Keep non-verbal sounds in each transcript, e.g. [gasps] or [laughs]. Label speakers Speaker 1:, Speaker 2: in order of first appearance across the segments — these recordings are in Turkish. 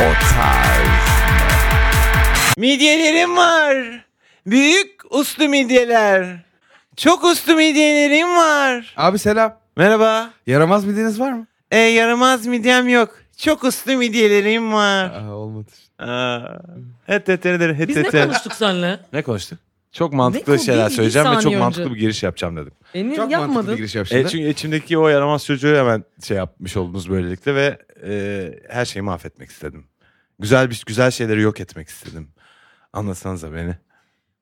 Speaker 1: O tarz.
Speaker 2: Midyelerim var. Büyük uslu midyeler. Çok uslu midyelerim var.
Speaker 1: Abi selam.
Speaker 2: Merhaba.
Speaker 1: Yaramaz bildiğiniz var mı?
Speaker 2: E yaramaz midyem yok. Çok uslu midyelerim var.
Speaker 1: Aa, olmadı.
Speaker 2: Aa. Het het het het
Speaker 3: Biz
Speaker 2: het
Speaker 3: ne
Speaker 2: het.
Speaker 3: konuştuk senle?
Speaker 2: Ne konuştuk?
Speaker 1: Çok
Speaker 3: mantıklı Ne- bir- şeyler bir- bir söyleyeceğim ve çok saniye mantıklı önce.
Speaker 1: bir giriş yapacağım dedim.
Speaker 3: Emin
Speaker 1: Çok mantıklı bir
Speaker 3: yapmadın.
Speaker 1: giriş yap
Speaker 2: E,
Speaker 1: şimdi.
Speaker 2: çünkü içimdeki o yaramaz çocuğu hemen şey yapmış oldunuz böylelikle ve e, her şeyi mahvetmek istedim. Güzel bir güzel şeyleri yok etmek istedim. Anlasanıza beni.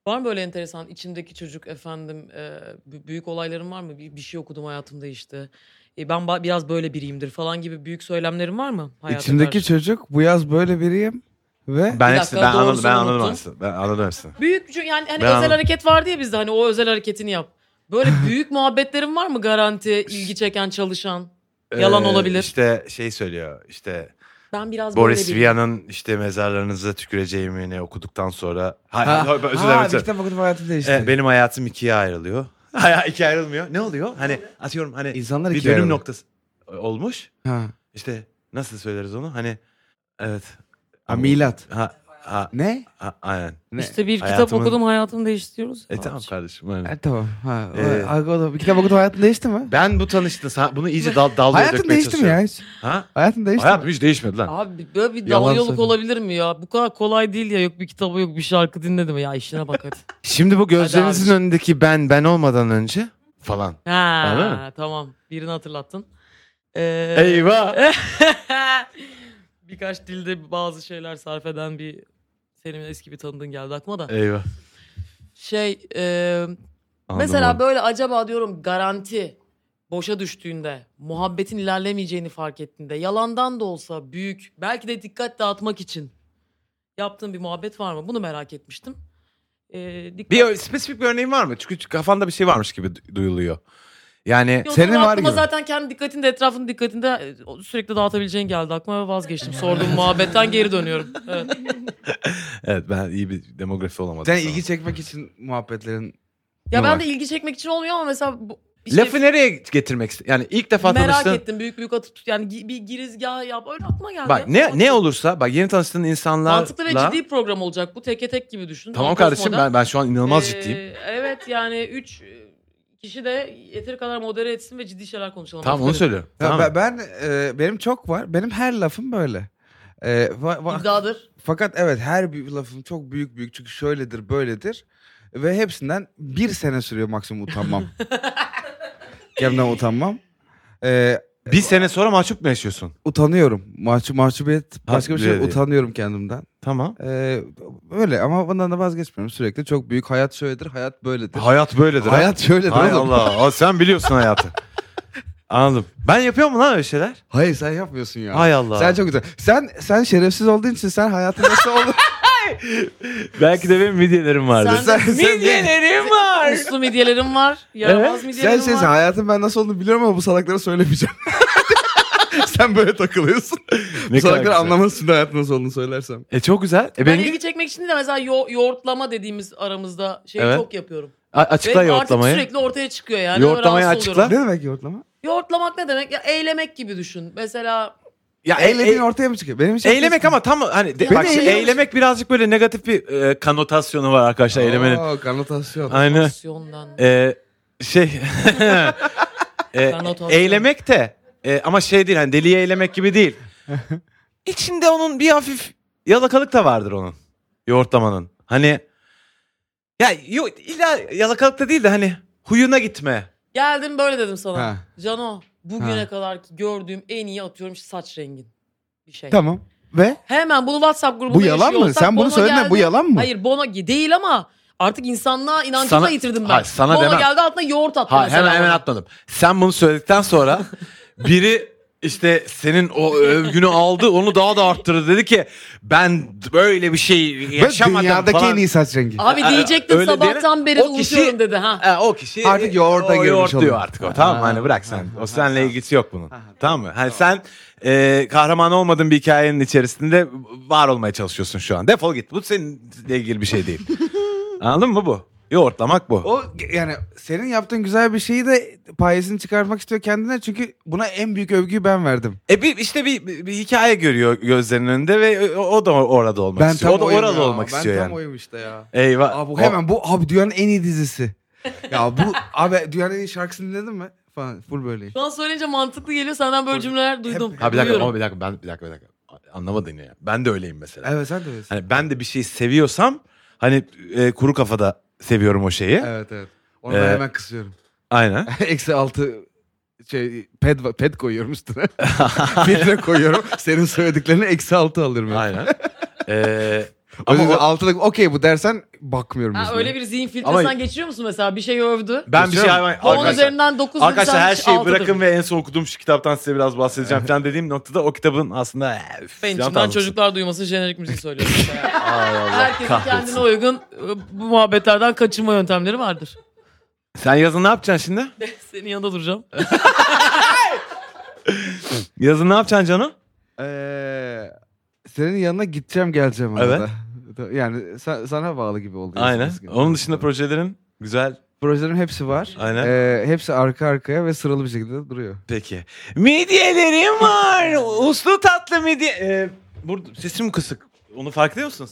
Speaker 3: Var mı böyle enteresan içimdeki çocuk efendim e, b- büyük olayların var mı? Bir, bir şey okudum hayatım değişti. E, ben ba- biraz böyle biriyimdir falan gibi büyük söylemlerin var mı? hayata
Speaker 1: İçimdeki
Speaker 3: karşı?
Speaker 1: çocuk bu yaz böyle biriyim ve
Speaker 2: Ben
Speaker 3: Bir
Speaker 2: hepsini-
Speaker 3: dakika,
Speaker 2: ben anladım
Speaker 3: doğrusunu
Speaker 2: ben anladım
Speaker 3: unuttun.
Speaker 2: hepsini. Ben anladım hepsini.
Speaker 3: Büyük ço- yani hani
Speaker 2: Ben
Speaker 3: özel
Speaker 2: anladım.
Speaker 3: hareket vardı ya bizde hani o özel hareketini yap. Böyle büyük muhabbetlerin var mı garanti ilgi çeken çalışan? Yalan
Speaker 2: Ee,
Speaker 3: olabilir.
Speaker 2: İşte şey söylüyor işte
Speaker 3: Ben biraz
Speaker 2: Boris
Speaker 3: böyle biriyim.
Speaker 2: Vian'ın işte mezarlarınıza tüküreceğimi ne okuduktan sonra. Hayır,
Speaker 1: Ha,
Speaker 2: hayır, özür
Speaker 1: ha,
Speaker 2: dilerim.
Speaker 1: bir
Speaker 2: özür dilerim.
Speaker 1: kitap okudum hayatım değişti.
Speaker 2: Ee, benim hayatım ikiye ayrılıyor. [laughs] Hayır ikiye ayrılmıyor. Ne oluyor? Hani atıyorum hani
Speaker 1: İnsanlar
Speaker 2: bir
Speaker 1: ikiye
Speaker 2: dönüm
Speaker 1: ayrılıyor.
Speaker 2: noktası olmuş.
Speaker 1: Ha.
Speaker 2: İşte nasıl söyleriz onu? Hani evet.
Speaker 1: ha, milat.
Speaker 2: Ha, ha,
Speaker 1: Ne?
Speaker 2: ha, aynen.
Speaker 1: ne?
Speaker 3: İşte bir kitap
Speaker 2: Hayatımın-
Speaker 3: okudum hayatım değiştiriyoruz.
Speaker 2: E tamam kardeşim. aynen.
Speaker 1: Ha, tamam. Ha, o-
Speaker 2: Ee,
Speaker 1: ha, o da- bir kitap okudum hayatım değişti mi?
Speaker 2: Ben bu tanıştı. sa- Bunu iyice dal, dalgaya
Speaker 1: Hayatım
Speaker 2: dökmeye
Speaker 1: değişti mi
Speaker 2: çalışıyorum.
Speaker 1: ya hiç?
Speaker 2: Ha?
Speaker 1: Hayatım değişti mi?
Speaker 2: Hayatım hiç değişmedi lan.
Speaker 3: Abi böyle bir
Speaker 1: Yalan
Speaker 3: dalalyoluk
Speaker 1: söylüyor.
Speaker 3: olabilir mi ya? Bu kadar kolay değil ya. Yok bir kitabı yok bir şarkı dinledim ya. işine bak
Speaker 2: [laughs]
Speaker 3: hadi.
Speaker 2: Şimdi bu gözlerinizin
Speaker 3: abiciğim.
Speaker 2: önündeki ben ben olmadan önce falan. Öyle
Speaker 3: Ha,
Speaker 2: mi?
Speaker 3: tamam. Birini hatırlattın. Ee,
Speaker 2: Eyvah.
Speaker 3: [laughs] Birkaç dilde bazı şeyler sarf eden bir senin eski bir tanıdığın geldi aklıma da.
Speaker 2: Eyvah.
Speaker 3: Şey, e,
Speaker 2: Anladım
Speaker 3: mesela
Speaker 2: abi.
Speaker 3: böyle acaba diyorum garanti boşa düştüğünde, muhabbetin ilerlemeyeceğini fark ettiğinde, yalandan da olsa büyük, belki de dikkat dağıtmak için yaptığın bir muhabbet var mı? Bunu merak etmiştim. Ee, dikkat-
Speaker 2: Bir ö- spesifik bir örneğin var mı? Çünkü kafanda bir şey varmış gibi du- duyuluyor. Yani
Speaker 3: Yok,
Speaker 1: Senin
Speaker 3: sonra
Speaker 1: var
Speaker 3: aklıma
Speaker 1: gibi.
Speaker 3: zaten kendi dikkatinde etrafının dikkatinde e, sürekli dağıtabileceğin geldi aklıma ve vazgeçtim. Sorduğum [laughs] muhabbetten geri dönüyorum. Evet.
Speaker 2: evet ben iyi bir demografi olamadım.
Speaker 1: Sen
Speaker 2: sana.
Speaker 1: ilgi çekmek için muhabbetlerin...
Speaker 3: Ya
Speaker 1: Var.
Speaker 3: ben de ilgi çekmek için olmuyor ama mesela bu, işte
Speaker 2: Lafı nereye getirmek ist- Yani ilk defa
Speaker 3: şey merak
Speaker 2: tanıştın.
Speaker 3: ettim büyük büyük atıp tut- yani gi- bir girizgah yap öyle aklıma geldi.
Speaker 2: Bak ne
Speaker 3: Mantıklı-
Speaker 2: ne olursa bak yeni tanıştığın insanlarla
Speaker 3: Mantıklı ve ciddi program olacak bu teke tek gibi düşün.
Speaker 2: Tamam
Speaker 3: Ama
Speaker 2: kardeşim
Speaker 3: koşmadan-
Speaker 2: ben ben şu an inanılmaz
Speaker 3: Ee,
Speaker 2: ciddiyim.
Speaker 3: Evet yani 3 kişi de yeteri kadar modere etsin ve ciddi şeyler konuşalım.
Speaker 2: Tamam onu
Speaker 3: Mantıklı.
Speaker 2: söylüyorum.
Speaker 1: Ya
Speaker 2: Tamam.
Speaker 1: ben, ben, e, benim çok var. Benim her lafım böyle. E, va- va- [laughs]
Speaker 3: İddiadır.
Speaker 1: Fakat evet her bir lafım çok büyük büyük çünkü şöyledir böyledir. Ve hepsinden bir sene sürüyor maksimum utanmam. Kendimden utanmam. Ee,
Speaker 2: bir sene sonra mahcup mu yaşıyorsun?
Speaker 1: utanıyorum. Mahcup, mahcubiyet
Speaker 2: Ha,
Speaker 1: başka bir şey.
Speaker 2: bile
Speaker 1: yok.
Speaker 2: değil.
Speaker 1: Utanıyorum kendimden.
Speaker 2: Tamam.
Speaker 1: Ee, öyle ama bundan da vazgeçmiyorum sürekli. Çok büyük hayat şöyledir, hayat böyledir.
Speaker 2: Hayat böyledir. ha.
Speaker 1: hayat şöyledir
Speaker 2: Hay
Speaker 1: oğlum.
Speaker 2: Allah. Aa, sen biliyorsun [laughs] hayatı. Anladım. Ben yapıyor mu lan öyle şeyler?
Speaker 1: Hayır sen yapmıyorsun ya.
Speaker 2: Hay Allah.
Speaker 1: Sen çok güzel. Sen sen şerefsiz olduğun için sen hayatın nasıl olur?
Speaker 2: Belki de benim midyelerim vardı.
Speaker 1: [laughs]
Speaker 3: Sen-
Speaker 1: sen,
Speaker 2: [laughs]
Speaker 1: sen,
Speaker 2: midyelerim var.
Speaker 3: Uslu midyelerim var. Yaramaz
Speaker 1: Sen
Speaker 3: midyelerim
Speaker 1: şey
Speaker 3: var.
Speaker 1: hayatım ben nasıl olduğunu biliyorum ama bu salaklara söylemeyeceğim. [laughs] Sen böyle takılıyorsun.
Speaker 2: Ne
Speaker 1: bu
Speaker 2: kadar
Speaker 1: salaklar
Speaker 2: güzel.
Speaker 1: anlamazsın da hayatın nasıl olduğunu söylersem.
Speaker 2: E çok güzel. E
Speaker 3: Ben
Speaker 2: benim
Speaker 3: ilgi çekmek için de mesela yo- yoğurtlama dediğimiz aramızda şeyi
Speaker 2: Evet.
Speaker 3: çok yapıyorum.
Speaker 2: A- açıkla
Speaker 3: Ve
Speaker 2: yoğurtlamayı.
Speaker 3: Artık sürekli ortaya çıkıyor yani.
Speaker 2: Yoğurtlamayı
Speaker 3: Rahatsız
Speaker 2: açıkla.
Speaker 1: Ne
Speaker 3: oluyorum.
Speaker 1: demek yoğurtlama?
Speaker 3: Yoğurtlamak ne demek? Ya eylemek gibi düşün. Mesela
Speaker 2: Ya e-
Speaker 1: Eylediğin
Speaker 2: e-
Speaker 1: ortaya mı çıkıyor? Benim için
Speaker 2: eylemek ama tam hani de-
Speaker 3: şey Beni
Speaker 2: bak şimdi
Speaker 1: eylemek-
Speaker 2: eylemek birazcık böyle negatif bir e, kanotasyonu var arkadaşlar eylemenin.
Speaker 1: Oo, kanotasyon.
Speaker 2: Aynı
Speaker 3: aksiyondan.
Speaker 2: e, şey [laughs] E,
Speaker 3: Kanotasyon.
Speaker 2: eylemek de e, ama şey değil hani deliye eylemek gibi [laughs] değil. İçinde onun bir hafif yalakalık da vardır onun. Yoğurtlamanın. Hani ya yo, illa yalakalık da değil de hani huyuna gitme.
Speaker 3: Geldim böyle dedim sana.
Speaker 1: Ha.
Speaker 3: Cano bugüne
Speaker 1: Ha.
Speaker 3: kadar ki gördüğüm en iyi atıyorum işte saç rengin. Bir şey.
Speaker 1: Tamam. Ve
Speaker 3: Hemen bunu WhatsApp grubunda
Speaker 1: bu yalan
Speaker 3: yaşıyor
Speaker 1: mı?
Speaker 3: olsak
Speaker 1: Sen bunu
Speaker 3: Bono
Speaker 1: söyledin
Speaker 3: geldi-
Speaker 1: bu yalan mı?
Speaker 3: Hayır Bono değil ama artık insanlığa inancımı
Speaker 2: Sana-
Speaker 3: da yitirdim ben.
Speaker 2: Hayır, sana
Speaker 3: Bono
Speaker 2: demem.
Speaker 3: geldi altına yoğurt attı
Speaker 2: Ha,
Speaker 3: mesela.
Speaker 2: hemen hemen
Speaker 3: bana.
Speaker 2: atmadım. Sen bunu söyledikten sonra biri işte senin o övgünü aldı onu daha da arttırdı. Dedi ki ben böyle bir şey
Speaker 1: Ve
Speaker 2: yaşamadım
Speaker 1: dünyadaki
Speaker 2: falan.
Speaker 1: en iyi saç rengi.
Speaker 3: Abi
Speaker 2: Aa,
Speaker 3: diyecektim
Speaker 2: öyle
Speaker 3: sabahtan beri
Speaker 2: O kişi-
Speaker 3: unutuyorum dedi ha.
Speaker 2: E, o kişi
Speaker 1: Artık yoğurda
Speaker 2: o
Speaker 1: girmiş
Speaker 2: yoğurt
Speaker 1: oluyor.
Speaker 2: diyor artık o. Tamam mı?
Speaker 1: Ha,
Speaker 2: Hani bırak sen.
Speaker 1: ha,
Speaker 2: o
Speaker 1: ha,
Speaker 2: seninle
Speaker 1: ha.
Speaker 2: ilgisi yok bunun.
Speaker 1: Ha, ha,
Speaker 2: tamam mı? Hani sen e, kahraman olmadığın bir hikayenin içerisinde
Speaker 1: [laughs]
Speaker 2: var olmaya çalışıyorsun şu an. Defol git. Bu seninle ilgili bir şey değil. Anladın mı bu? Yoğurtlamak bu.
Speaker 1: O yani senin yaptığın güzel bir şeyi de payesini çıkarmak istiyor kendine çünkü buna en büyük övgüyü ben verdim.
Speaker 2: E bir işte bir, bir, bir hikaye görüyor gözlerinin önünde ve o, o da or- orada olmak
Speaker 1: ben
Speaker 2: istiyor. O da
Speaker 1: oyum
Speaker 2: oralı
Speaker 1: ya,
Speaker 2: olmak
Speaker 1: ben
Speaker 2: istiyor
Speaker 1: tam
Speaker 2: yani.
Speaker 1: oyum işte ya.
Speaker 2: Eyvah.
Speaker 1: Abi bu
Speaker 2: O-
Speaker 1: hemen bu abi dünyanın en iyi dizisi. ya bu abi dünyanın en iyi şarkısını dinledin mi? Falan full böyleyim.
Speaker 3: Şu an söyleyince mantıklı geliyor. Senden böyle cümleler duydum.
Speaker 2: Ha bir dakika
Speaker 3: Duyuyorum.
Speaker 2: ama bir dakika ben bir dakika bir dakika. Anlamadın ya. Ben de öyleyim mesela.
Speaker 1: Evet sen de öylesin.
Speaker 2: Hani ben de bir şeyi seviyorsam hani e, kuru kafada seviyorum o şeyi.
Speaker 1: Evet evet. Onu ben
Speaker 2: Ee,
Speaker 1: hemen kısıyorum. [laughs]
Speaker 2: Aynen.
Speaker 1: Eksi altı şey ped, va- ped
Speaker 2: [laughs]
Speaker 1: koyuyorum üstüne. Filtre koyuyorum. Senin söylediklerini eksi altı alıyorum. Yani.
Speaker 2: Aynen. Ee,
Speaker 1: Ama
Speaker 2: ama o-
Speaker 1: altılık okey bu dersen bakmıyorum.
Speaker 3: Ha,
Speaker 1: yüzüne.
Speaker 3: öyle bir zihin
Speaker 2: Ama-
Speaker 3: filtresinden geçiriyor musun mesela? Bir şey övdü.
Speaker 2: ben bir şey hayvan
Speaker 3: Onun
Speaker 2: arkadaşlar,
Speaker 3: üzerinden 9
Speaker 2: arkadaşlar her şeyi bırakın ve en son okuduğum şu kitaptan size biraz bahsedeceğim falan dediğim noktada o kitabın aslında e, üf,
Speaker 3: Ben
Speaker 2: falan
Speaker 3: içimden
Speaker 2: tarzı. şey.
Speaker 3: çocuklar duymasın jenerik müzik söylüyorum.
Speaker 2: Ay Allah,
Speaker 3: Herkesin
Speaker 2: kahretsin.
Speaker 3: kendine uygun e, bu muhabbetlerden kaçınma yöntemleri vardır.
Speaker 2: Sen yazın ne yapacaksın şimdi?
Speaker 3: [laughs] Senin yanında duracağım.
Speaker 2: Yazın ne yapacaksın canım?
Speaker 1: Ee, senin yanına gideceğim geleceğim arada.
Speaker 2: Evet.
Speaker 1: [laughs] Yani sa- sana bağlı gibi oldu.
Speaker 2: Aynen.
Speaker 1: yazılması gibi.
Speaker 2: Onun dışında projelerin güzel.
Speaker 1: projelerin hepsi var.
Speaker 2: Aynen.
Speaker 1: Ee, hepsi arka arkaya ve sıralı bir şekilde duruyor.
Speaker 2: Peki. Midyelerim var. Uslu tatlı midye. Ee, burada sesim kısık. Onu fark ediyor musunuz?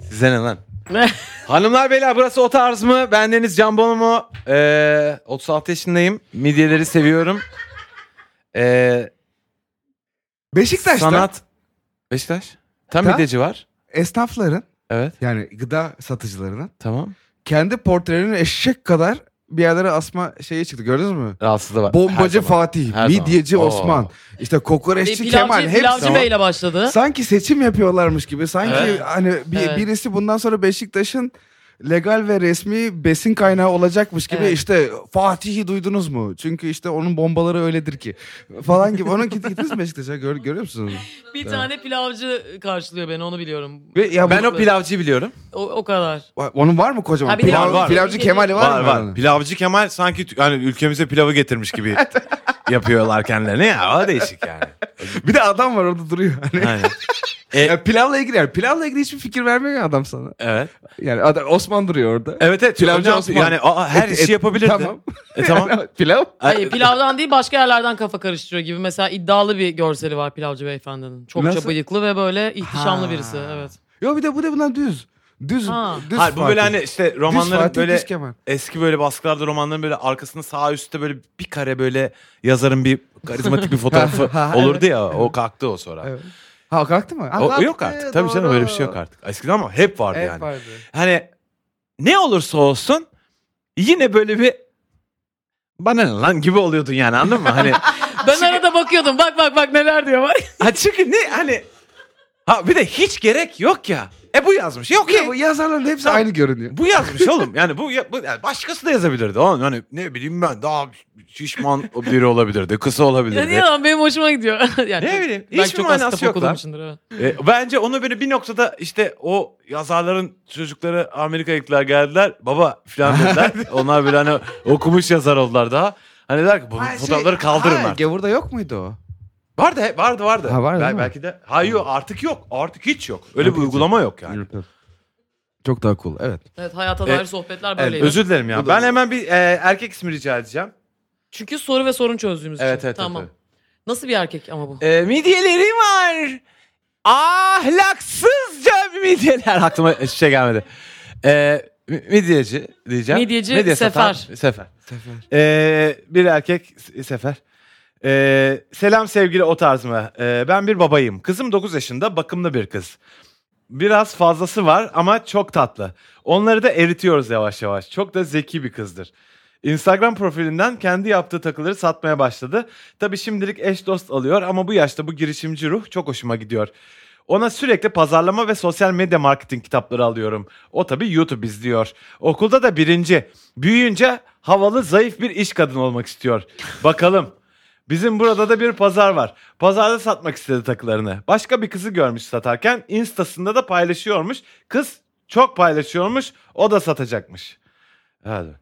Speaker 2: Size ne
Speaker 1: [laughs]
Speaker 2: lan?
Speaker 3: Ne?
Speaker 2: Hanımlar beyler burası o tarz mı? Ben Deniz Can Bonomo. Ee, 36 yaşındayım. Midyeleri seviyorum. Ee,
Speaker 1: Beşiktaş'ta
Speaker 2: sanat. Beşiktaş. Tam
Speaker 1: Ta?
Speaker 2: midyeci var.
Speaker 1: esnafların
Speaker 2: Evet.
Speaker 1: yani gıda satıcılarının
Speaker 2: Tamam.
Speaker 1: kendi portrelerini eşek kadar bir yerlere asma şeyi çıktı gördünüz mü?
Speaker 2: Rahatsızlığı var.
Speaker 1: Bombacı
Speaker 2: Her zaman.
Speaker 1: Fatih,
Speaker 2: Her zaman.
Speaker 1: midyeci
Speaker 2: Oo.
Speaker 1: Osman, işte kokoreççi
Speaker 3: pilavcı,
Speaker 1: Kemal hepsi
Speaker 3: pilavcı Bey ile başladı.
Speaker 1: sanki seçim yapıyorlarmış gibi. Sanki
Speaker 2: Evet.
Speaker 1: hani bir,
Speaker 3: Evet.
Speaker 1: birisi bundan sonra Beşiktaş'ın legal ve resmi besin kaynağı olacakmış gibi
Speaker 3: Evet.
Speaker 1: işte Fatih'i duydunuz mu? Çünkü işte onun bombaları öyledir ki falan gibi. Onun git gittiniz mi Beşiktaş'a Gör, görüyor musunuz?
Speaker 3: Bir tane pilavcı karşılıyor beni onu biliyorum.
Speaker 1: Ve ya bu-
Speaker 2: Ben o pilavcıyı biliyorum.
Speaker 3: O, o kadar.
Speaker 1: onun var mı kocaman?
Speaker 3: Ha, bir de-
Speaker 1: Pilav-
Speaker 2: Var, var.
Speaker 1: Pilavcı
Speaker 3: Bir de-
Speaker 1: Kemal'i var,
Speaker 2: Var
Speaker 1: mı?
Speaker 2: var.
Speaker 1: oranın?
Speaker 2: Pilavcı Kemal sanki tü- hani ülkemize pilavı getirmiş
Speaker 1: [laughs]
Speaker 2: gibi yapıyorlar kendilerine ya. O değişik yani.
Speaker 1: Bir de adam var orada duruyor. Hani.
Speaker 2: Aynen. E,
Speaker 1: Ya pilavla ilgili yani pilavla ilgili hiçbir fikir vermiyor ya adam sana.
Speaker 2: evet.
Speaker 1: Yani adam, Osman duruyor orada.
Speaker 2: Evet evet.
Speaker 1: Pilavcı
Speaker 2: Pilavcı
Speaker 1: Osman.
Speaker 2: Yani aa, E, her
Speaker 1: Et-
Speaker 2: işi
Speaker 1: et-
Speaker 2: yapabilirdi.
Speaker 1: Tamam. E,
Speaker 2: E,
Speaker 1: [laughs]
Speaker 2: tamam. [laughs]
Speaker 1: Pilav.
Speaker 3: Hayır, pilavdan değil başka yerlerden kafa karıştırıyor gibi. Mesela iddialı bir görseli var pilavcı beyefendinin. Çokça
Speaker 1: Nasıl?
Speaker 3: bıyıklı ve böyle ihtişamlı
Speaker 1: Ha.
Speaker 3: birisi. Evet.
Speaker 1: Yo bir de bu da bundan düz. Düz.
Speaker 3: Ha.
Speaker 1: Düz
Speaker 2: Hayır, bu böyle
Speaker 1: Fatih.
Speaker 2: hani işte
Speaker 1: Düz
Speaker 2: romanların
Speaker 1: Fatih,
Speaker 2: böyle
Speaker 1: düz Kemal.
Speaker 2: eski böyle baskılarda romanların böyle arkasında sağ üstte böyle bir kare böyle yazarın bir karizmatik bir
Speaker 1: [laughs]
Speaker 2: fotoğrafı
Speaker 1: Ha, ha,
Speaker 2: olurdu ya. O kalktı o sonra.
Speaker 1: Evet. Ha kalktı mı? Ha,
Speaker 2: O- O,
Speaker 1: kalktı,
Speaker 2: yok artık. Tabii canım
Speaker 1: doğru.
Speaker 2: öyle bir şey yok artık. Eskiden ama hep vardı
Speaker 1: Hep
Speaker 2: yani.
Speaker 1: vardı.
Speaker 2: hani ne olursa olsun yine böyle bir bana ne lan gibi oluyordun yani anladın mı? Hani
Speaker 3: Ben arada bakıyordum. Bak bak bak neler diyor. Bak.
Speaker 2: ha çünkü ne hani ha bir de hiç gerek yok ya. E bu yazmış. Yok
Speaker 1: Ya
Speaker 2: ya
Speaker 1: bu yazarların hepsi
Speaker 2: Tamam.
Speaker 1: aynı görünüyor.
Speaker 2: bu yazmış oğlum. Yani bu, ya- bu yani başkası da yazabilirdi. Oğlum hani ne bileyim ben daha şişman biri olabilirdi. Kısa
Speaker 3: Ya niye
Speaker 2: olabilirdi.
Speaker 3: lan benim hoşuma gidiyor. [laughs] yani
Speaker 2: Ne
Speaker 3: çok-
Speaker 2: bileyim,
Speaker 3: Ben
Speaker 2: hiçbir
Speaker 3: çok az
Speaker 2: manası
Speaker 3: kitap
Speaker 2: yok lan.
Speaker 3: okuduğumuşumdur, evet.
Speaker 2: E, bence onu böyle bir noktada işte o yazarların çocukları Amerika'ya gittiler geldiler. Baba
Speaker 3: [laughs]
Speaker 2: filan dediler. Onlar böyle hani okumuş yazar oldular daha. Hani der ki bu
Speaker 1: Ha, şey-
Speaker 2: fotoğrafları kaldırın
Speaker 1: Ha,
Speaker 2: artık.
Speaker 1: Gavur'da yok muydu o?
Speaker 2: Vardı he- vardı vardı.
Speaker 1: Ha, vardı, değil mi?
Speaker 2: belki de. Hayır yok artık yok. Artık hiç yok. Öyle bir
Speaker 1: Artık hiç
Speaker 2: uygulama yok yani.
Speaker 1: Çok daha cool evet.
Speaker 3: Evet hayata
Speaker 2: E,
Speaker 3: dair sohbetler
Speaker 2: Evet,
Speaker 3: böyleydi.
Speaker 2: özür dilerim ya.
Speaker 1: Bu da-
Speaker 2: Ben hemen bir e, erkek ismi rica edeceğim.
Speaker 3: Çünkü soru ve sorun çözdüğümüz
Speaker 2: Evet,
Speaker 3: için.
Speaker 2: evet,
Speaker 3: tamam.
Speaker 2: evet,
Speaker 3: Nasıl bir erkek ama bu?
Speaker 2: E, midyeleri var. Ahlaksızca midyeler. [laughs] Aklıma hiçbir şey gelmedi. E, mi- midyeci diyeceğim.
Speaker 3: Midyeci
Speaker 2: satan-
Speaker 3: Sefer.
Speaker 2: Sefer.
Speaker 1: Sefer.
Speaker 2: E, bir erkek s- Sefer. E, selam sevgili o tarz mı? E, ben bir babayım. Kızım 9 yaşında bakımlı bir kız. Biraz fazlası var ama çok tatlı. Onları da eritiyoruz yavaş yavaş. Çok da zeki bir kızdır. Instagram profilinden kendi yaptığı takıları satmaya başladı. Tabii şimdilik eş dost alıyor ama bu yaşta bu girişimci ruh çok hoşuma gidiyor. Ona sürekli pazarlama ve sosyal medya marketing kitapları alıyorum. O tabii YouTube izliyor. Okulda da birinci. Büyüyünce havalı zayıf bir iş kadın olmak istiyor. Bakalım. Bizim burada da bir pazar var. Pazarda satmak istedi takılarını. Başka bir kızı görmüş satarken instasında da paylaşıyormuş. Kız çok paylaşıyormuş. O da satacakmış. Hadi.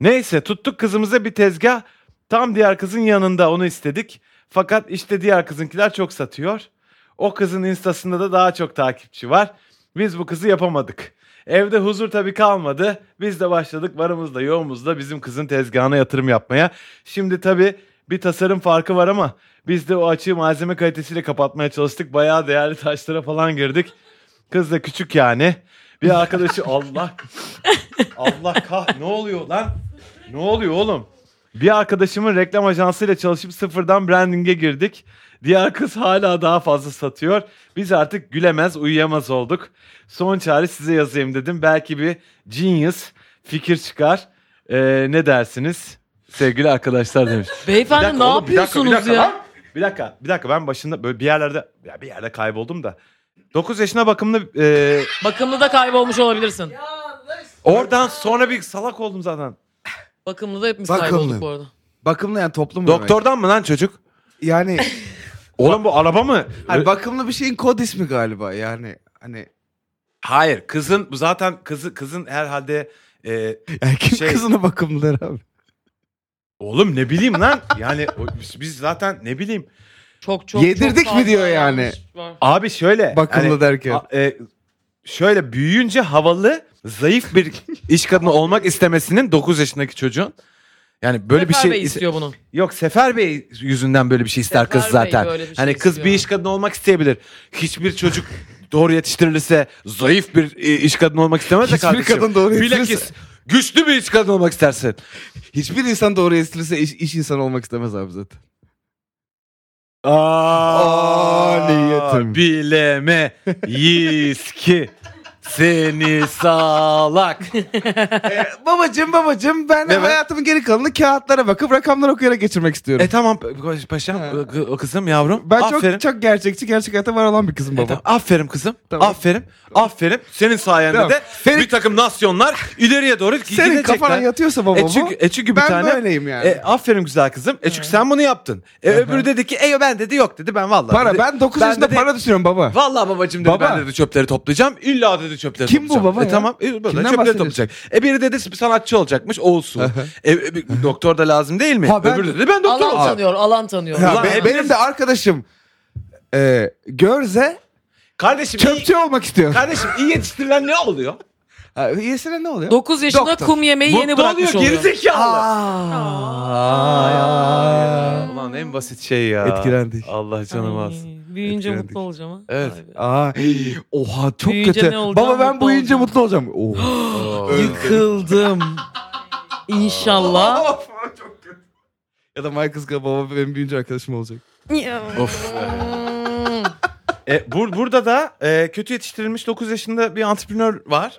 Speaker 2: Neyse tuttuk kızımıza bir tezgah. Tam diğer kızın yanında onu istedik. Fakat işte diğer kızınkiler çok satıyor. O kızın instasında da daha çok takipçi var. Biz bu kızı yapamadık. Evde huzur tabii kalmadı. Biz de başladık varımızda yoğumuzda bizim kızın tezgahına yatırım yapmaya. Şimdi tabii bir tasarım farkı var ama biz de o açığı malzeme kalitesiyle kapatmaya çalıştık. Bayağı değerli taşlara falan girdik. Kız da küçük yani. Bir arkadaşı Allah Allah kah ne oluyor lan? Ne oluyor oğlum? Bir arkadaşımın reklam ajansıyla çalışıp sıfırdan branding'e girdik. Diğer kız hala daha fazla satıyor. Biz artık gülemez, uyuyamaz olduk. Son çare size yazayım dedim. Belki bir genius fikir çıkar. Ee, ne dersiniz? Sevgili arkadaşlar demiş.
Speaker 3: Beyefendi
Speaker 2: Bir dakika
Speaker 3: ne
Speaker 2: oğlum, bir dakika,
Speaker 3: yapıyorsunuz
Speaker 2: bir dakika
Speaker 3: ya?
Speaker 2: lan. Bir dakika, bir dakika. Ben başında böyle bir yerlerde ya bir yerde kayboldum da. 9 yaşına bakımlı e,
Speaker 3: Bakımlı da kaybolmuş olabilirsin.
Speaker 2: oradan sonra bir salak oldum zaten.
Speaker 3: Bakımlı da hepimiz
Speaker 1: Bakımlı.
Speaker 3: kaybolduk bu arada.
Speaker 1: Bakımlı yani toplum demek.
Speaker 2: Doktordan mı lan çocuk? [laughs]
Speaker 1: Yani
Speaker 2: Oğlum bu araba mı?
Speaker 1: hani bakımlı bir şeyin kod ismi galiba yani. Hani
Speaker 2: Hayır, kızın bu zaten kızı kızın herhalde e,
Speaker 1: yani kim
Speaker 2: Şey-
Speaker 1: kızına bakımlı der abi?
Speaker 2: oğlum ne bileyim
Speaker 1: [laughs]
Speaker 2: lan? Yani o- biz- biz zaten ne bileyim.
Speaker 3: Çok çok
Speaker 1: Yedirdik
Speaker 3: çok
Speaker 1: mi diyor
Speaker 3: fazla
Speaker 1: yani?
Speaker 3: yanlış var.
Speaker 2: Abi şöyle.
Speaker 1: Bakımlı
Speaker 2: hani-
Speaker 1: derken.
Speaker 2: A- e, şöyle büyüyünce havalı, zayıf bir
Speaker 1: [laughs]
Speaker 2: iş kadını olmak istemesinin 9 yaşındaki çocuğun yani böyle bir
Speaker 3: Sefer
Speaker 2: şey
Speaker 3: Bey istiyor bunu.
Speaker 2: Yok Sefer Bey yüzünden böyle bir şey ister kız
Speaker 3: Sefer Bey
Speaker 2: zaten.
Speaker 3: böyle bir şey
Speaker 2: hani kız bir
Speaker 3: istiyor.
Speaker 2: iş kadını olmak isteyebilir. Hiçbir çocuk doğru yetiştirilirse zayıf bir e, iş kadını olmak istemez de
Speaker 1: Hiçbir
Speaker 2: kardeşim.
Speaker 1: kadın doğru
Speaker 2: Bilakis
Speaker 1: yetiştirilirse-
Speaker 2: güçlü bir iş kadını olmak istersin.
Speaker 1: Hiçbir insan doğru yetiştirilirse iş, iş insanı olmak istemez abi zaten. Aa, niyetim.
Speaker 2: Bileme [laughs] yiski seni salak.
Speaker 1: babacım babacım E, ben
Speaker 2: Evet.
Speaker 1: hayatımın geri kalanını kağıtlara bakıp rakamlar okuyarak geçirmek istiyorum.
Speaker 2: E tamam pa- paşam
Speaker 1: Ha.
Speaker 2: o- o kızım yavrum.
Speaker 1: ben
Speaker 2: aferin.
Speaker 1: çok çok gerçekçi, gerçek hayata var olan bir kızım
Speaker 2: E
Speaker 1: baba.
Speaker 2: tamam, aferin kızım.
Speaker 1: Tamam.
Speaker 2: Aferin. Aferin. Senin sayende
Speaker 1: Tamam.
Speaker 2: de
Speaker 1: Senin-
Speaker 2: bir takım nasyonlar ileriye doğru gidecekler.
Speaker 1: Senin kafana yatıyorsa baba
Speaker 2: E
Speaker 1: bu.
Speaker 2: çünkü, e çünkü bir
Speaker 1: ben
Speaker 2: tane
Speaker 1: böyleyim yani.
Speaker 2: E, aferin güzel kızım. E çünkü sen bunu yaptın. E öbürü dedi ki "Eyo ben dedi yok dedi ben vallahi.
Speaker 1: para
Speaker 2: dedi,
Speaker 1: ben 9
Speaker 2: ben
Speaker 1: yaşında
Speaker 2: dedi-
Speaker 1: para düşünüyorum baba.
Speaker 2: Vallahi babacım dedi
Speaker 1: Baba.
Speaker 2: ben dedi çöpleri toplayacağım. İlla dedi çöpleri
Speaker 1: Kim bu
Speaker 2: toplayacağım. E
Speaker 1: baba ya?
Speaker 2: tamam. E, böyle
Speaker 1: Kimden
Speaker 2: çöpleri
Speaker 1: bahsediyorsun?
Speaker 2: toplayacak. E biri dedi sanatçı olacakmış. Olsun. e, e, bir doktor da lazım değil mi?
Speaker 1: Ha, ben-
Speaker 2: Öbürü dedi ben doktor
Speaker 3: Alan
Speaker 2: olacağım.
Speaker 3: tanıyor, alan tanıyor.
Speaker 1: Ya
Speaker 2: Ulan
Speaker 1: be-
Speaker 2: hepimiz-
Speaker 1: benim de arkadaşım e, Görze
Speaker 2: Kardeşim iyi,
Speaker 1: çöpçü olmak istiyor.
Speaker 2: kardeşim iyi yetiştirilen ne oluyor?
Speaker 1: Ha, Üyesine ne oluyor?
Speaker 3: 9 yaşında
Speaker 1: Doktor.
Speaker 3: kum yemeği yeni
Speaker 2: Mutlu
Speaker 3: bırakmış
Speaker 2: oluyor
Speaker 3: oluyor.
Speaker 2: gerizekalı.
Speaker 1: Aa,
Speaker 2: Ulan en basit şey ya.
Speaker 1: Etkilendik.
Speaker 2: Allah canım
Speaker 3: Ay,
Speaker 2: alsın.
Speaker 3: Büyüyünce
Speaker 1: Etkilendik.
Speaker 3: mutlu olacağım ha.
Speaker 2: Evet.
Speaker 3: Vay be.
Speaker 1: Aa, oha çok
Speaker 3: Büyüyünce
Speaker 1: kötü.
Speaker 3: ne olacağım,
Speaker 1: Baba ben
Speaker 3: mutlu
Speaker 1: büyüyünce
Speaker 3: olacağım.
Speaker 1: mutlu olacağım.
Speaker 3: [gasps]
Speaker 2: [laughs]
Speaker 1: Oh.
Speaker 3: Yıkıldım. İnşallah.
Speaker 1: çok kötü. Ya da Michael Scott baba benim büyüyünce arkadaşım olacak.
Speaker 2: of. [laughs] E, bur- burada da e, kötü yetiştirilmiş 9 yaşında bir antreprenör var.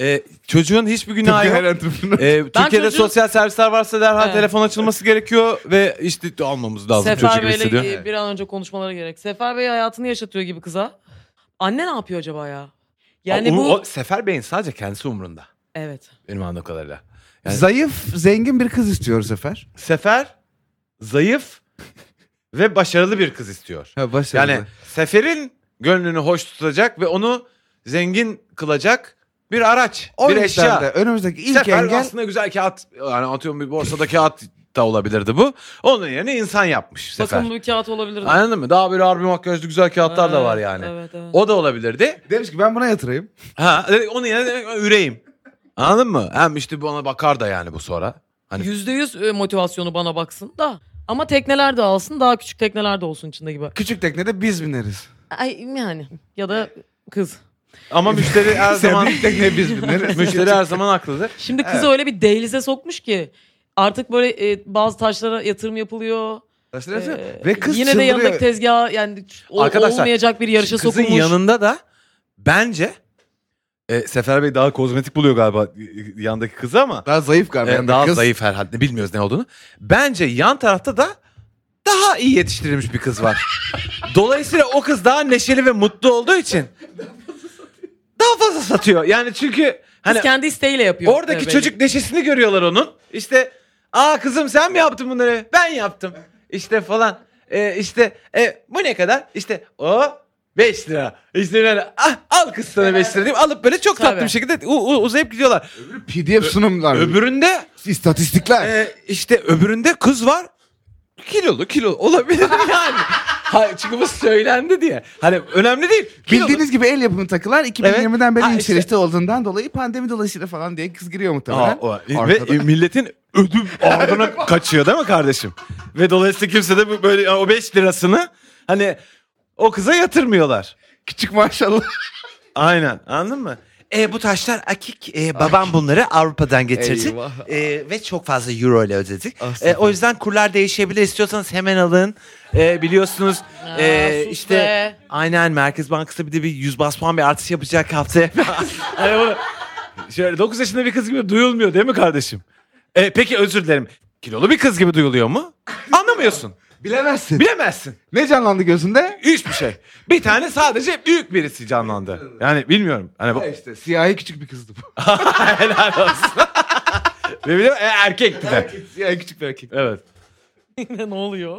Speaker 2: E, çocuğun hiçbir günahı
Speaker 1: Tıpkı
Speaker 2: yok.
Speaker 1: her entrepreneur.
Speaker 2: E, Türkiye'de
Speaker 3: çocuğu-
Speaker 2: sosyal servisler varsa derhal
Speaker 3: Evet.
Speaker 2: telefon açılması gerekiyor ve işte almamız lazım
Speaker 3: Sefer
Speaker 2: çocuk hissediyor.
Speaker 3: Bey'le bir an önce konuşmaları gerek. Sefer Bey hayatını yaşatıyor gibi kıza. Anne ne yapıyor acaba ya? Yani
Speaker 2: Ama
Speaker 3: bu...
Speaker 2: o, Sefer Bey'in sadece kendisi umrunda.
Speaker 3: Evet.
Speaker 2: Benim anladığım kadarıyla. Yani-
Speaker 1: Zayıf, zengin bir kız istiyor Sefer.
Speaker 2: Sefer zayıf ve başarılı bir kız istiyor.
Speaker 1: Ha,
Speaker 2: Yani Sefer'in gönlünü hoş tutacak ve onu zengin kılacak bir araç,
Speaker 1: o
Speaker 2: bir
Speaker 1: yüzden
Speaker 2: eşya.
Speaker 1: de önümüzdeki ilk
Speaker 2: Sefer
Speaker 1: engel
Speaker 2: aslında güzel kağıt yani atıyorum bir borsada kağıt da olabilirdi bu. Onun yerine insan yapmış Sefer.
Speaker 3: Bakımlı bir kağıt olabilir. de.
Speaker 2: Anladın mı? Daha böyle harbi makyajlı güzel kağıtlar da var
Speaker 3: Evet,
Speaker 2: yani.
Speaker 3: Evet, evet.
Speaker 2: O da olabilirdi.
Speaker 1: demiş ki ben buna yatırayım.
Speaker 2: Ha dedi, onun yerine demek ki üreyim. Anladın mı? Hem işte bana bakar da yani bu sonra. Hani
Speaker 3: Yüzde yüz e, motivasyonu bana baksın da. Ama tekneler de alsın daha küçük tekneler de olsun içinde gibi.
Speaker 1: Küçük teknede biz bineriz.
Speaker 3: Ay yani ya da kız.
Speaker 2: ama müşteri
Speaker 3: [laughs]
Speaker 2: her zaman
Speaker 1: Büyük tekneye biz
Speaker 2: [laughs]
Speaker 1: bineriz.
Speaker 2: müşteri her zaman haklıdır.
Speaker 3: Şimdi kızı
Speaker 1: Evet.
Speaker 3: öyle bir dehlize sokmuş ki artık böyle e, bazı taşlara yatırım yapılıyor. Ee,
Speaker 1: Ve kız
Speaker 3: yine de
Speaker 1: çıldırıyor.
Speaker 3: yanındaki tezgaha yani o-
Speaker 2: Arkadaşlar,
Speaker 3: olmayacak bir yarışa
Speaker 2: Kızın
Speaker 3: sokulmuş.
Speaker 2: yanında da bence e, Sefer Bey daha kozmetik buluyor galiba e, yandaki kızı ama
Speaker 1: Daha zayıf galiba.
Speaker 2: e,
Speaker 1: yani
Speaker 2: daha
Speaker 1: kız.
Speaker 2: zayıf herhalde bilmiyoruz ne olduğunu. Bence yan tarafta da daha iyi yetiştirilmiş bir kız
Speaker 3: [laughs]
Speaker 2: var. Dolayısıyla o kız daha neşeli ve mutlu olduğu için daha fazla satıyor. Yani çünkü
Speaker 3: Kız
Speaker 2: hani
Speaker 3: kendi isteğiyle yapıyor.
Speaker 2: oradaki
Speaker 3: Belli.
Speaker 2: çocuk neşesini görüyorlar onun. İşte aa kızım sen mi yaptın bunları? Ben yaptım. İşte falan. E, işte e, bu ne kadar? İşte o 5 lira. İşte böyle, ah, al kız sana 5 lira diyeyim. Alıp böyle çok tatlı
Speaker 3: Tabii.
Speaker 2: bir şekilde u- u- uzayıp gidiyorlar.
Speaker 1: PDF sunumlar.
Speaker 2: Öbüründe e,
Speaker 1: istatistikler.
Speaker 2: ee, işte öbüründe kız var. Kilolu kilo olabilir yani. [laughs] Hayır, çıkımı söylendi diye. Hani önemli değil. Bildiğiniz...
Speaker 1: Bildiğiniz gibi el yapımı takılar 2020'den beri
Speaker 2: Ha, işte.
Speaker 1: yükselişte olduğundan dolayı pandemi dolayısıyla falan diye kız giriyor
Speaker 2: Aa,
Speaker 1: muhtemelen.
Speaker 2: o-
Speaker 1: Arkada.
Speaker 2: ve e, milletin ödüm ardına kaçıyor değil mi kardeşim? Ve dolayısıyla kimse de bu- böyle o 5 lirasını hani o kıza yatırmıyorlar.
Speaker 1: [laughs] Küçük maşallah.
Speaker 2: Aynen anladın mı? E, bu taşlar akik. E, babam bunları Avrupa'dan getirdi.
Speaker 1: Eyvah.
Speaker 2: E, ve çok fazla euro ile ödedik.
Speaker 1: Ah,
Speaker 2: E, o yüzden kurlar değişebilir. İstiyorsanız hemen alın. E, biliyorsunuz
Speaker 3: Aa,
Speaker 2: e,
Speaker 3: sus
Speaker 2: işte
Speaker 3: be.
Speaker 2: aynen Merkez Bankası bir de bir 100 bas puan bir artış yapacak
Speaker 1: [laughs]
Speaker 2: haftaya. Hani bunu- şöyle 9 yaşında bir kız gibi duyulmuyor değil mi kardeşim? E, peki özür dilerim. Kilolu bir kız gibi duyuluyor mu? Anlamıyorsun.
Speaker 1: Bilemezsin.
Speaker 2: Bilemezsin.
Speaker 1: Ne canlandı gözünde?
Speaker 2: Hiçbir şey. Bir tane sadece büyük birisi canlandı. Yani bilmiyorum. Hani bu-
Speaker 1: Ha işte siyahi küçük bir kızdı bu.
Speaker 2: Helal olsun. Ve bir de e, erkekti de.
Speaker 1: [laughs] siyahi küçük bir erkek.
Speaker 2: Evet.
Speaker 3: [laughs]
Speaker 2: [laughs]
Speaker 3: ne oluyor?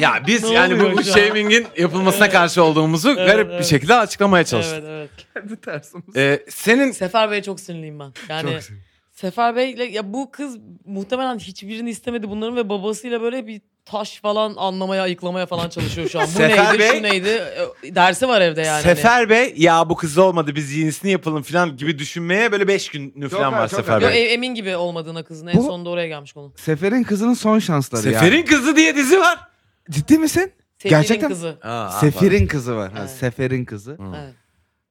Speaker 2: Ya biz
Speaker 3: Ne
Speaker 2: yani bu,
Speaker 3: oluyor
Speaker 2: bu
Speaker 3: şu an?
Speaker 2: shaming'in yapılmasına karşı olduğumuzu
Speaker 3: Evet,
Speaker 2: garip bir
Speaker 3: evet.
Speaker 2: şekilde açıklamaya çalıştık.
Speaker 3: evet evet.
Speaker 1: Kendi tersim.
Speaker 2: Ee, senin
Speaker 3: Sefer Bey'e çok sinirliyim ben. Yani
Speaker 2: Hani-
Speaker 1: Çok sevdim.
Speaker 3: Sefer Bey'le ya bu kız muhtemelen hiçbirini istemedi bunların ve babasıyla böyle bir taş falan anlamaya, ayıklamaya falan çalışıyor şu an. Bu
Speaker 2: Sefer
Speaker 3: neydi,
Speaker 2: Bey-
Speaker 3: şu neydi? E, Dersi var evde yani.
Speaker 2: Sefer Bey ya bu kız olmadı biz yenisini yapalım falan gibi düşünmeye böyle 5 günü falan
Speaker 1: ha,
Speaker 2: var
Speaker 1: çok
Speaker 2: Sefer
Speaker 1: ha.
Speaker 3: Yo,
Speaker 2: Bey.
Speaker 3: e- emin gibi olmadığına kızın. En
Speaker 1: Bu-
Speaker 3: sonunda oraya gelmiş konu.
Speaker 1: Sefer'in kızının son
Speaker 3: e,
Speaker 1: şansları ya.
Speaker 2: Sefer'in kızı diye dizi var.
Speaker 1: Ciddi misin?
Speaker 3: Sevgilinin
Speaker 1: Gerçekten-
Speaker 3: kızı.
Speaker 1: Sefer'in kızı var. Ha,
Speaker 3: Evet.
Speaker 1: Sefer'in kızı.
Speaker 2: Hmm.
Speaker 3: Evet.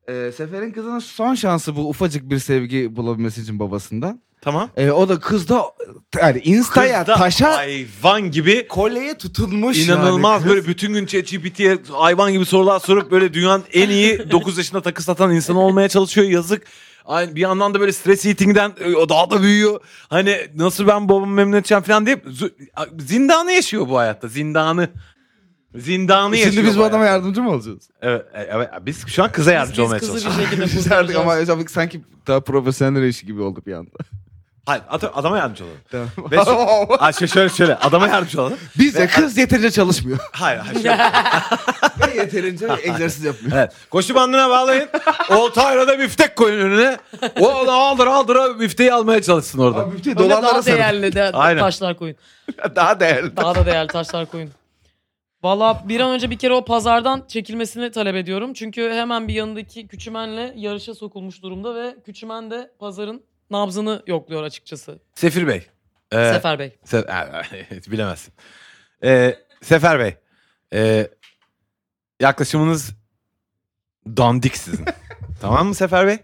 Speaker 1: Ee, Sefer'in kızının son şansı bu ufacık bir sevgi bulabilmesi için babasından.
Speaker 2: Tamam.
Speaker 1: Ee, o da kız da yani instaya
Speaker 2: Kız da
Speaker 1: taşa
Speaker 2: hayvan gibi
Speaker 1: kolyeye tutulmuş.
Speaker 2: inanılmaz
Speaker 1: yani kız.
Speaker 2: böyle bütün gün ChatGPT'ye hayvan gibi sorular sorup böyle dünyanın en
Speaker 1: [laughs]
Speaker 2: iyi 9 yaşında takı satan insanı olmaya çalışıyor yazık. Ay, Bir yandan da böyle stres eating'den e, o daha da büyüyor. Hani nasıl ben babamı memnun edeceğim falan deyip zu- zindanı yaşıyor bu hayatta. Zindanı. Zindanı yaşıyor.
Speaker 1: E Şimdi biz bu adama
Speaker 2: hayatta.
Speaker 1: yardımcı mı
Speaker 2: [laughs]
Speaker 1: olacağız?
Speaker 2: Evet, e, evet, biz şu an kıza yardımcı
Speaker 3: Biz, biz
Speaker 2: olmaya
Speaker 3: kızı
Speaker 2: çalışıyoruz.
Speaker 3: bir
Speaker 2: [laughs]
Speaker 3: şekilde
Speaker 1: Biz artık ama
Speaker 3: kurtaracağız.
Speaker 1: hocam sanki daha profesyonel işi gibi oldu bir anda.
Speaker 2: Hayır at- adama yardımcı olalım.
Speaker 1: Tamam.
Speaker 2: Ve
Speaker 1: [laughs]
Speaker 2: şu- Ay, şö- şöyle şöyle adama yardımcı olalım.
Speaker 1: Bize kız yeterince çalışmıyor.
Speaker 2: Hayır hayır. şöyle.
Speaker 1: Ve yeterince egzersiz yapmıyor.
Speaker 2: Evet. Koşu bandına bağlayın. Oltayla da biftek koyun önüne. O da aldır aldır bifteyi almaya çalışsın orada.
Speaker 1: [laughs] Abi müftü
Speaker 3: Böyle
Speaker 1: dolarlara
Speaker 3: daha
Speaker 1: sarın.
Speaker 3: değerli de,
Speaker 2: Aynen.
Speaker 3: taşlar koyun.
Speaker 1: Daha değerli.
Speaker 3: Daha da değerli taşlar koyun. Valla bir an önce bir kere o pazardan çekilmesini talep ediyorum. Çünkü hemen bir yanındaki küçümenle yarışa sokulmuş durumda ve küçümen de pazarın nabzını yokluyor açıkçası.
Speaker 2: Sefir Bey. Ee,
Speaker 3: Sefer Bey.
Speaker 2: Se- bilemezsin. Ee, Sefer Bey. Ee, yaklaşımınız dandik
Speaker 1: [laughs]
Speaker 2: sizin. tamam mı Sefer Bey?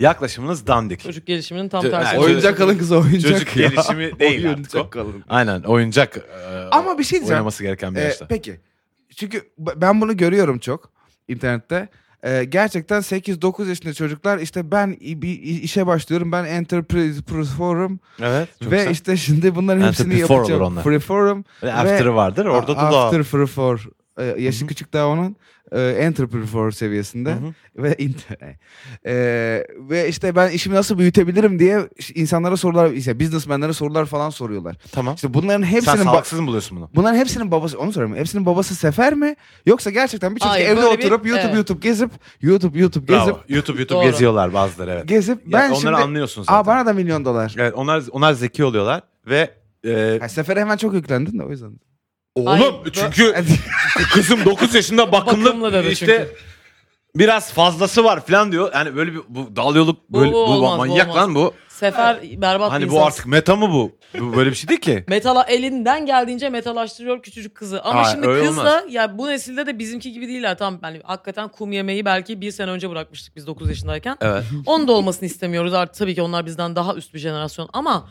Speaker 2: Yaklaşımınız dandik.
Speaker 3: Çocuk gelişiminin tam
Speaker 2: Çö-
Speaker 3: tersi.
Speaker 2: ha,
Speaker 1: [laughs] Oyuncak kalın kız oyuncak
Speaker 2: Çocuk
Speaker 1: ya.
Speaker 2: gelişimi
Speaker 1: [laughs]
Speaker 2: değil
Speaker 1: Oyuncak
Speaker 2: artık o.
Speaker 1: kalın.
Speaker 2: Aynen oyuncak. e,
Speaker 1: Ama bir şey diyeceğim.
Speaker 2: Oynaması gereken bir
Speaker 1: Ee,
Speaker 2: yaşta.
Speaker 1: peki. Çünkü b- ben bunu görüyorum çok internette. Ee, gerçekten 8-9 yaşında çocuklar işte ben i- bir i- işe başlıyorum. Ben enterprise forum
Speaker 2: Evet. çok
Speaker 1: ve
Speaker 2: güzel.
Speaker 1: işte şimdi bunların hepsini
Speaker 2: Entrepreneur olur
Speaker 1: yapacağım.
Speaker 2: onlar.
Speaker 1: Free forum.
Speaker 2: Ve after'ı vardır. Orada da daha-
Speaker 1: After free for. Ee, yaşı
Speaker 2: Hı hı.
Speaker 1: küçük daha onun. Ee, entrepreneur for seviyesinde.
Speaker 2: Hı hı.
Speaker 1: [laughs] Ve inter- Ee, ve işte ben işimi nasıl büyütebilirim diye insanlara sorular, işte businessmenlere sorular falan soruyorlar.
Speaker 2: Tamam.
Speaker 1: İşte bunların hepsinin...
Speaker 2: Sen
Speaker 1: ba-
Speaker 2: sağlıksız mı buluyorsun bunu?
Speaker 1: Bunların hepsinin babası onu soruyorum. Hepsinin babası Sefer mi? Yoksa gerçekten bir çocuk
Speaker 3: Hayır,
Speaker 1: evde
Speaker 3: böyle bir-
Speaker 1: oturup YouTube
Speaker 3: evet.
Speaker 1: YouTube gezip YouTube YouTube gezip
Speaker 2: Bravo. YouTube YouTube
Speaker 3: Doğru.
Speaker 2: geziyorlar bazıları evet.
Speaker 1: gezip
Speaker 2: Ya
Speaker 1: ben
Speaker 2: onları
Speaker 1: şimdi
Speaker 2: anlıyorsun zaten.
Speaker 1: Aa bana da milyon dolar.
Speaker 2: Evet onlar onlar zeki oluyorlar ve e,
Speaker 1: Ha, Sefer'e hemen çok yüklendin de o
Speaker 3: [laughs]
Speaker 1: yüzden.
Speaker 2: oğlum
Speaker 3: Ay, [laughs]
Speaker 2: çünkü kızım 9 yaşında bakımlı,
Speaker 3: Bakımlı dedi
Speaker 2: işte
Speaker 3: çünkü.
Speaker 2: biraz fazlası var falan diyor. Yani böyle bir bu dalyoluk böyle bu,
Speaker 3: Bu olmaz, bu
Speaker 2: manyak
Speaker 3: olmaz.
Speaker 2: lan bu.
Speaker 3: Sefer berbat bir
Speaker 2: Hani bu
Speaker 3: insan.
Speaker 2: artık meta mı bu? bu böyle bir şey değil
Speaker 3: [laughs]
Speaker 2: ki.
Speaker 3: Metala elinden geldiğince metalaştırıyor küçücük kızı. Ama
Speaker 2: Hayır,
Speaker 3: şimdi
Speaker 2: öyle
Speaker 3: kızla
Speaker 2: olmaz.
Speaker 3: ya bu nesilde de bizimki gibi değiller. Tamam yani hakikaten kum yemeği belki bir sene önce bırakmıştık biz 9 yaşındayken.
Speaker 2: Evet.
Speaker 3: Onun da olmasını istemiyoruz artık. Tabii ki onlar bizden daha üst bir jenerasyon ama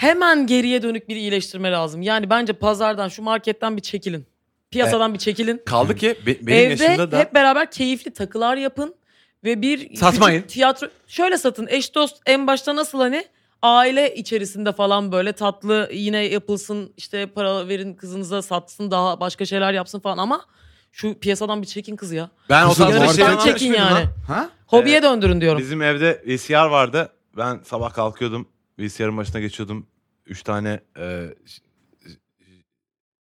Speaker 3: hemen geriye dönük bir iyileştirme lazım. Yani bence pazardan şu marketten bir çekilin. Piyasadan bir çekilin.
Speaker 2: Kaldı ki be- benim yaşımda
Speaker 3: Evde
Speaker 2: da
Speaker 3: hep beraber keyifli takılar yapın ve bir
Speaker 2: Satmayın.
Speaker 3: küçük [laughs] tiyatro şöyle satın. Eş dost en başta nasıl hani aile içerisinde falan böyle tatlı yine yapılsın işte para verin kızınıza satsın daha başka şeyler yapsın falan ama şu piyasadan bir çekin kızı ya.
Speaker 2: ben o
Speaker 1: Kızım
Speaker 2: tarz bir
Speaker 1: marketten
Speaker 2: şey
Speaker 3: Yarıştan
Speaker 2: yapmış
Speaker 3: çekin
Speaker 2: mıydım
Speaker 3: yani.
Speaker 2: lan?
Speaker 1: Ha?
Speaker 3: Hobiye
Speaker 2: Evet.
Speaker 3: döndürün diyorum.
Speaker 2: Bizim evde VCR vardı. Ben sabah kalkıyordum. VCR'ın başına geçiyordum. Üç tane e, ş-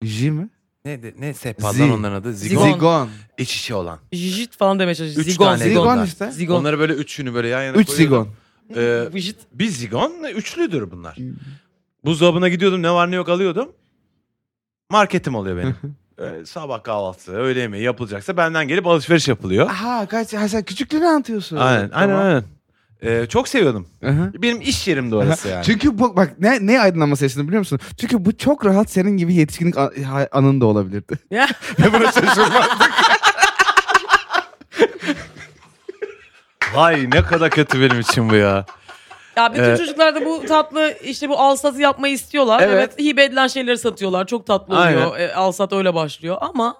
Speaker 1: J mi?
Speaker 2: ne ne
Speaker 1: Zi-
Speaker 2: sehpadan onların adı? Zigon.
Speaker 3: Zigon.
Speaker 1: Zigon.
Speaker 2: İç içe olan.
Speaker 3: Jijit falan demeye çalışıyor.
Speaker 2: Üç
Speaker 3: Zigon,
Speaker 2: tane
Speaker 3: zigon.
Speaker 1: Zigon
Speaker 2: Zigon'dan.
Speaker 1: işte.
Speaker 3: Zigon.
Speaker 2: Onları böyle üçünü böyle yan yana
Speaker 1: Üç
Speaker 2: koyuyordum.
Speaker 1: zigon.
Speaker 3: [laughs]
Speaker 2: Ee,
Speaker 3: Vijit.
Speaker 2: bir zigon e, üçlüdür bunlar. Buzdolabına gidiyordum ne var ne yok alıyordum. Marketim oluyor benim. e, sabah kahvaltısı, öğle yemeği yapılacaksa benden gelip alışveriş yapılıyor.
Speaker 1: Aha kaç, ha, sen küçüklüğünü anlatıyorsun.
Speaker 2: Aynen, aynen,
Speaker 1: Ah, Tamam.
Speaker 2: aynen. E, çok seviyordum.
Speaker 1: Aha.
Speaker 2: Benim iş yerimdi orası yani.
Speaker 1: Çünkü bu bak ne ne aydınlanması yaşadın biliyor musun? Çünkü bu çok rahat senin gibi yetişkinlik a- ha- anın da olabilirdi.
Speaker 3: Ya.
Speaker 1: Ve buna şaşırmazdık.
Speaker 2: Vay ne kadar kötü benim için bu ya.
Speaker 3: Ya bütün
Speaker 2: Ee,
Speaker 3: çocuklar da bu tatlı işte bu alsatı yapmayı istiyorlar.
Speaker 2: Evet.
Speaker 3: Evet. Hibe edilen şeyleri satıyorlar. Çok tatlı oluyor. E, alsat öyle başlıyor ama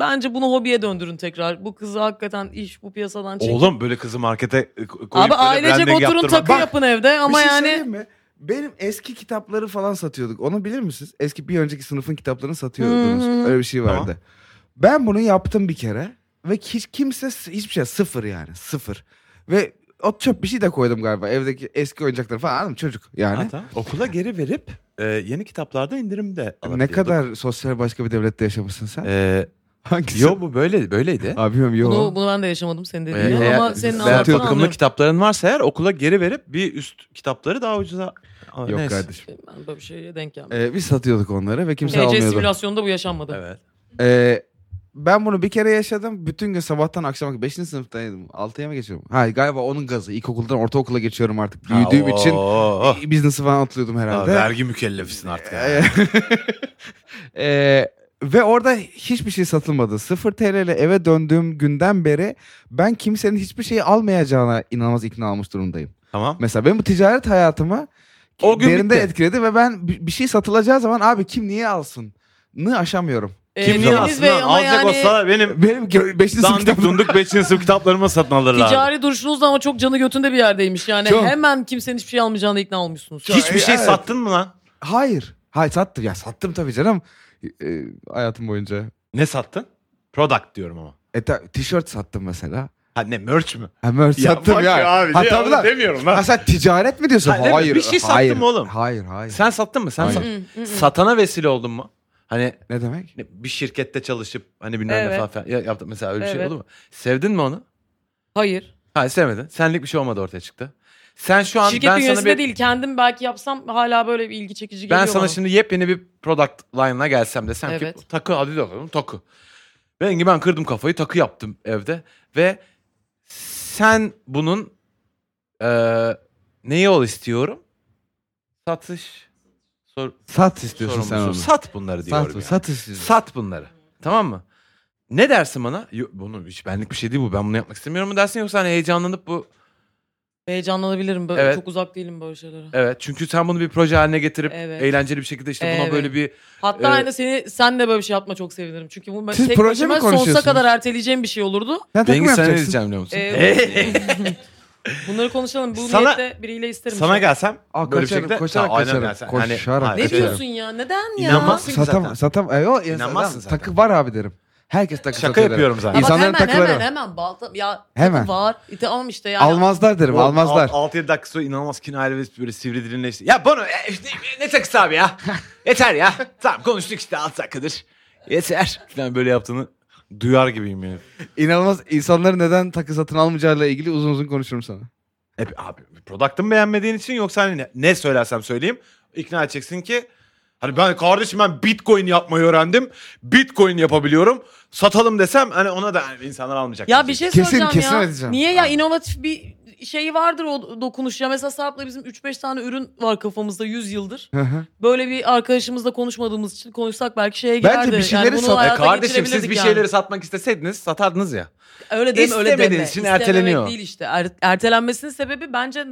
Speaker 3: bence bunu hobiye döndürün tekrar. Bu kızı hakikaten iş bu piyasadan çekin.
Speaker 2: Oğlum böyle kızı markete e, ko- koyup
Speaker 3: Abi
Speaker 2: böyle
Speaker 3: ailecek
Speaker 2: branding
Speaker 3: oturun
Speaker 2: yaptırmak-
Speaker 3: takı
Speaker 1: Bak,
Speaker 3: yapın evde ama
Speaker 1: bir şey
Speaker 3: yani
Speaker 1: söyleyeyim mi? Benim eski kitapları falan satıyorduk. Onu bilir misiniz? Eski bir önceki sınıfın kitaplarını
Speaker 3: Hı
Speaker 1: satıyordunuz.
Speaker 3: hı.
Speaker 1: Öyle bir şey vardı.
Speaker 2: Tamam.
Speaker 1: Ben bunu yaptım bir kere ve hiç kimse hiçbir şey sıfır yani sıfır. Ve o çöp bir şey de koydum galiba evdeki eski oyuncakları falan anladın mı? çocuk yani.
Speaker 2: Ha, tamam. hani Okula geri verip e, yeni kitaplarda indirimde
Speaker 1: Ne
Speaker 2: alabiliyorduk.
Speaker 1: kadar sosyal başka bir devlette yaşamışsın sen?
Speaker 2: E,
Speaker 1: Hangisi?
Speaker 2: yo bu böyle böyleydi.
Speaker 1: Abi bilmiyorum yo.
Speaker 3: bunu, bunu ben de yaşamadım senin
Speaker 2: Ee,
Speaker 3: dediğin
Speaker 2: eğer
Speaker 3: ama
Speaker 2: eğer
Speaker 3: senin anlattığını
Speaker 1: satıyor
Speaker 2: bakımlı
Speaker 3: anlıyorum.
Speaker 2: kitapların varsa eğer okula geri verip bir üst kitapları daha ucuza... Aa,
Speaker 1: Yok
Speaker 2: neyse.
Speaker 1: kardeşim.
Speaker 3: Ben böyle bir şeye denk gelmedim.
Speaker 1: Ee, biz satıyorduk onları ve kimse
Speaker 3: TC
Speaker 1: almıyordu.
Speaker 3: simülasyonda bu yaşanmadı.
Speaker 2: Evet.
Speaker 1: Ee, ben bunu bir kere yaşadım. Bütün gün sabahtan akşama 5. sınıftaydım. 6'ya mı geçiyorum? Ha galiba onun gazı. İlkokuldan ortaokula geçiyorum artık. Büyüdüğüm
Speaker 2: Ha,
Speaker 1: için
Speaker 2: oo.
Speaker 1: e, business'ı falan atlıyordum
Speaker 2: Aa,
Speaker 1: herhalde.
Speaker 2: vergi mükellefisin artık.
Speaker 1: Ee, [laughs] Ee, ve orada hiçbir şey satılmadı. 0 TL ile eve döndüğüm günden beri ben kimsenin hiçbir şeyi almayacağına inanılmaz ikna olmuş durumdayım.
Speaker 2: Tamam.
Speaker 1: Mesela benim bu ticaret hayatımı
Speaker 2: O gün
Speaker 1: derinde
Speaker 2: bitti.
Speaker 1: etkiledi ve ben bi- bir şey satılacağı zaman abi kim niye alsın? Nı aşamıyorum. [laughs]
Speaker 3: Ee,
Speaker 2: Kim
Speaker 3: Deniz
Speaker 2: zaman?
Speaker 3: Bey
Speaker 2: Lan
Speaker 3: ama
Speaker 2: Alacak
Speaker 3: yani
Speaker 2: olsa benim
Speaker 1: Benim gö- beşinci sınıf
Speaker 2: dandik
Speaker 1: kitabım-
Speaker 2: dunduk 5. sınıf kitaplarıma satın alırlar.
Speaker 3: ticari duruşunuz da ama çok canı götünde bir yerdeymiş. Yani
Speaker 1: Çok.
Speaker 3: hemen kimsenin hiçbir şey almayacağına ikna olmuşsunuz.
Speaker 2: Hiçbir
Speaker 1: Ee,
Speaker 2: şey
Speaker 1: evet.
Speaker 2: sattın mı lan?
Speaker 1: [laughs] Hayır. Hayır sattım. Ya sattım tabii canım. Ee, hayatım boyunca.
Speaker 2: Ne sattın? Product diyorum ama.
Speaker 1: E, ta- tişört sattım mesela.
Speaker 2: Ha ne merch mi?
Speaker 1: Ha, merch sattım
Speaker 2: bak
Speaker 1: ya.
Speaker 2: abi, şey
Speaker 1: ha,
Speaker 2: ya,
Speaker 1: tabii
Speaker 2: onu
Speaker 1: lan.
Speaker 2: demiyorum lan.
Speaker 1: Ha, sen ticaret mi diyorsun?
Speaker 2: Ha, değil mi?
Speaker 1: hayır.
Speaker 2: Bir şey sattım
Speaker 1: hayır,
Speaker 2: oğlum.
Speaker 1: Hayır hayır.
Speaker 2: Sen sattın mı? Sen
Speaker 1: Hayır.
Speaker 2: sat-
Speaker 3: Hı, hı, hı.
Speaker 2: satana vesile oldun mu? Hani
Speaker 1: Ne demek?
Speaker 2: ne- bir şirkette çalışıp hani bilmem ne
Speaker 3: Evet.
Speaker 2: falan filan ya- yaptın mesela öyle bir şey
Speaker 3: Evet.
Speaker 2: oldu mu? Sevdin mi onu?
Speaker 3: Hayır.
Speaker 2: Ha sevmedin. Senlik bir şey olmadı ortaya çıktı. Sen şu an
Speaker 3: Şirket
Speaker 2: ben sana
Speaker 3: bünyesinde
Speaker 2: bir
Speaker 3: değil. Kendim belki yapsam hala böyle bir ilgi çekici geliyor
Speaker 2: ben sana
Speaker 3: bana.
Speaker 2: şimdi yepyeni bir product line'ına gelsem desem ki
Speaker 3: Evet.
Speaker 2: takı hadi de alalım takı. Ben ben kırdım kafayı takı yaptım evde ve sen bunun eee neyi ol istiyorum? Satış sor,
Speaker 1: Sat istiyorsun sen
Speaker 2: sorumlusu.
Speaker 1: onu.
Speaker 2: Sat bunları diyorum.
Speaker 1: Sat,
Speaker 2: yani.
Speaker 1: sat istiyorsun.
Speaker 2: Sat bunları. Tamam mı? Ne dersin bana? Yo, Bunu hiç benlik bir şey değil bu. Ben bunu yapmak istemiyorum mu dersin yoksa hani heyecanlanıp bu
Speaker 3: Heyecanlanabilirim. Böyle
Speaker 2: Evet.
Speaker 3: Çok uzak değilim böyle şeylere.
Speaker 2: evet çünkü sen bunu bir proje haline getirip
Speaker 3: Evet.
Speaker 2: eğlenceli bir şekilde işte buna
Speaker 3: Evet.
Speaker 2: böyle bir
Speaker 3: Hatta
Speaker 2: Ee,
Speaker 3: aynı seni sen de böyle bir şey yapma çok sevinirim. Çünkü bu ben
Speaker 1: Siz
Speaker 3: tek
Speaker 1: proje
Speaker 3: başıma
Speaker 1: mi
Speaker 3: sonsuza
Speaker 1: konuşuyorsunuz?
Speaker 3: kadar erteleyeceğim bir şey olurdu.
Speaker 1: Sen takım
Speaker 2: Cengiz sana ne
Speaker 1: yapacaksın.
Speaker 2: diyeceğim biliyor musun? [laughs]
Speaker 3: Ee, bunları konuşalım. Bu
Speaker 2: Sana-
Speaker 3: niyette biriyle isterim.
Speaker 2: sana
Speaker 3: işte.
Speaker 2: gelsem
Speaker 1: Aa,
Speaker 2: böyle bir
Speaker 1: kaçarım,
Speaker 2: şekilde
Speaker 1: koşarak
Speaker 2: Ha, aynen hani-
Speaker 1: kaçarım,
Speaker 2: gelsen.
Speaker 1: koşarak
Speaker 2: hayır,
Speaker 3: Ne
Speaker 1: kaçarım.
Speaker 2: kaçarım.
Speaker 3: diyorsun ya? Neden ya?
Speaker 2: İnanmazsın ki zaten.
Speaker 1: Satam, satam. E, o,
Speaker 2: İnanmazsın zaten.
Speaker 1: Takı var abilerim. Herkes takı
Speaker 2: Şaka
Speaker 1: satıyor.
Speaker 2: yapıyorum zaten.
Speaker 3: Ya bak
Speaker 1: İnsanların
Speaker 3: hemen
Speaker 1: takıları
Speaker 3: hemen
Speaker 1: var.
Speaker 3: hemen balta ya
Speaker 1: Hemen.
Speaker 3: hemen. var. E, tamam işte yani.
Speaker 1: Almazlar derim, almazlar.
Speaker 2: 6-7 dakika sonra inanılmaz kinayeli ve böyle sivri dilinle işte. Ya Bono e, işte, ne takısı abi
Speaker 3: [laughs]
Speaker 2: ya? Yeter ya. tamam konuştuk işte 6 dakikadır. Yeter. Falan böyle yaptığını duyar gibiyim yani.
Speaker 1: İnanılmaz insanların neden takı satın almayacağıyla ilgili uzun uzun konuşurum sana.
Speaker 2: E, abi product'ımı beğenmediğin için yoksa hani ne, ne söylersem söyleyeyim ikna edeceksin ki hani ben kardeşim ben bitcoin yapmayı öğrendim. Bitcoin yapabiliyorum. Satalım desem hani ona da hani insanlar almayacak.
Speaker 3: Ya
Speaker 2: diyecek.
Speaker 3: bir şey
Speaker 1: Kesin,
Speaker 3: soracağım
Speaker 1: kesin
Speaker 3: ya.
Speaker 1: edeceğim.
Speaker 3: Niye ya inovatif bir şeyi vardır o dokunuş ya. Mesela Sarp'la bizim 3-5 tane ürün var kafamızda 100 yıldır.
Speaker 1: Hı hı.
Speaker 3: Böyle bir arkadaşımızla konuşmadığımız için konuşsak belki şeye
Speaker 1: Bence
Speaker 3: girerdi.
Speaker 1: bir şeyleri
Speaker 3: bunu
Speaker 1: sat-
Speaker 2: E
Speaker 3: hayata
Speaker 2: kardeşim siz
Speaker 3: geçirebilirdik
Speaker 2: bir
Speaker 3: yani.
Speaker 2: şeyleri satmak isteseydiniz satardınız ya.
Speaker 3: Öyle deme öyle deme.
Speaker 2: İstemediğiniz için erteleniyor.
Speaker 3: değil işte. Er- ertelenmesinin sebebi bence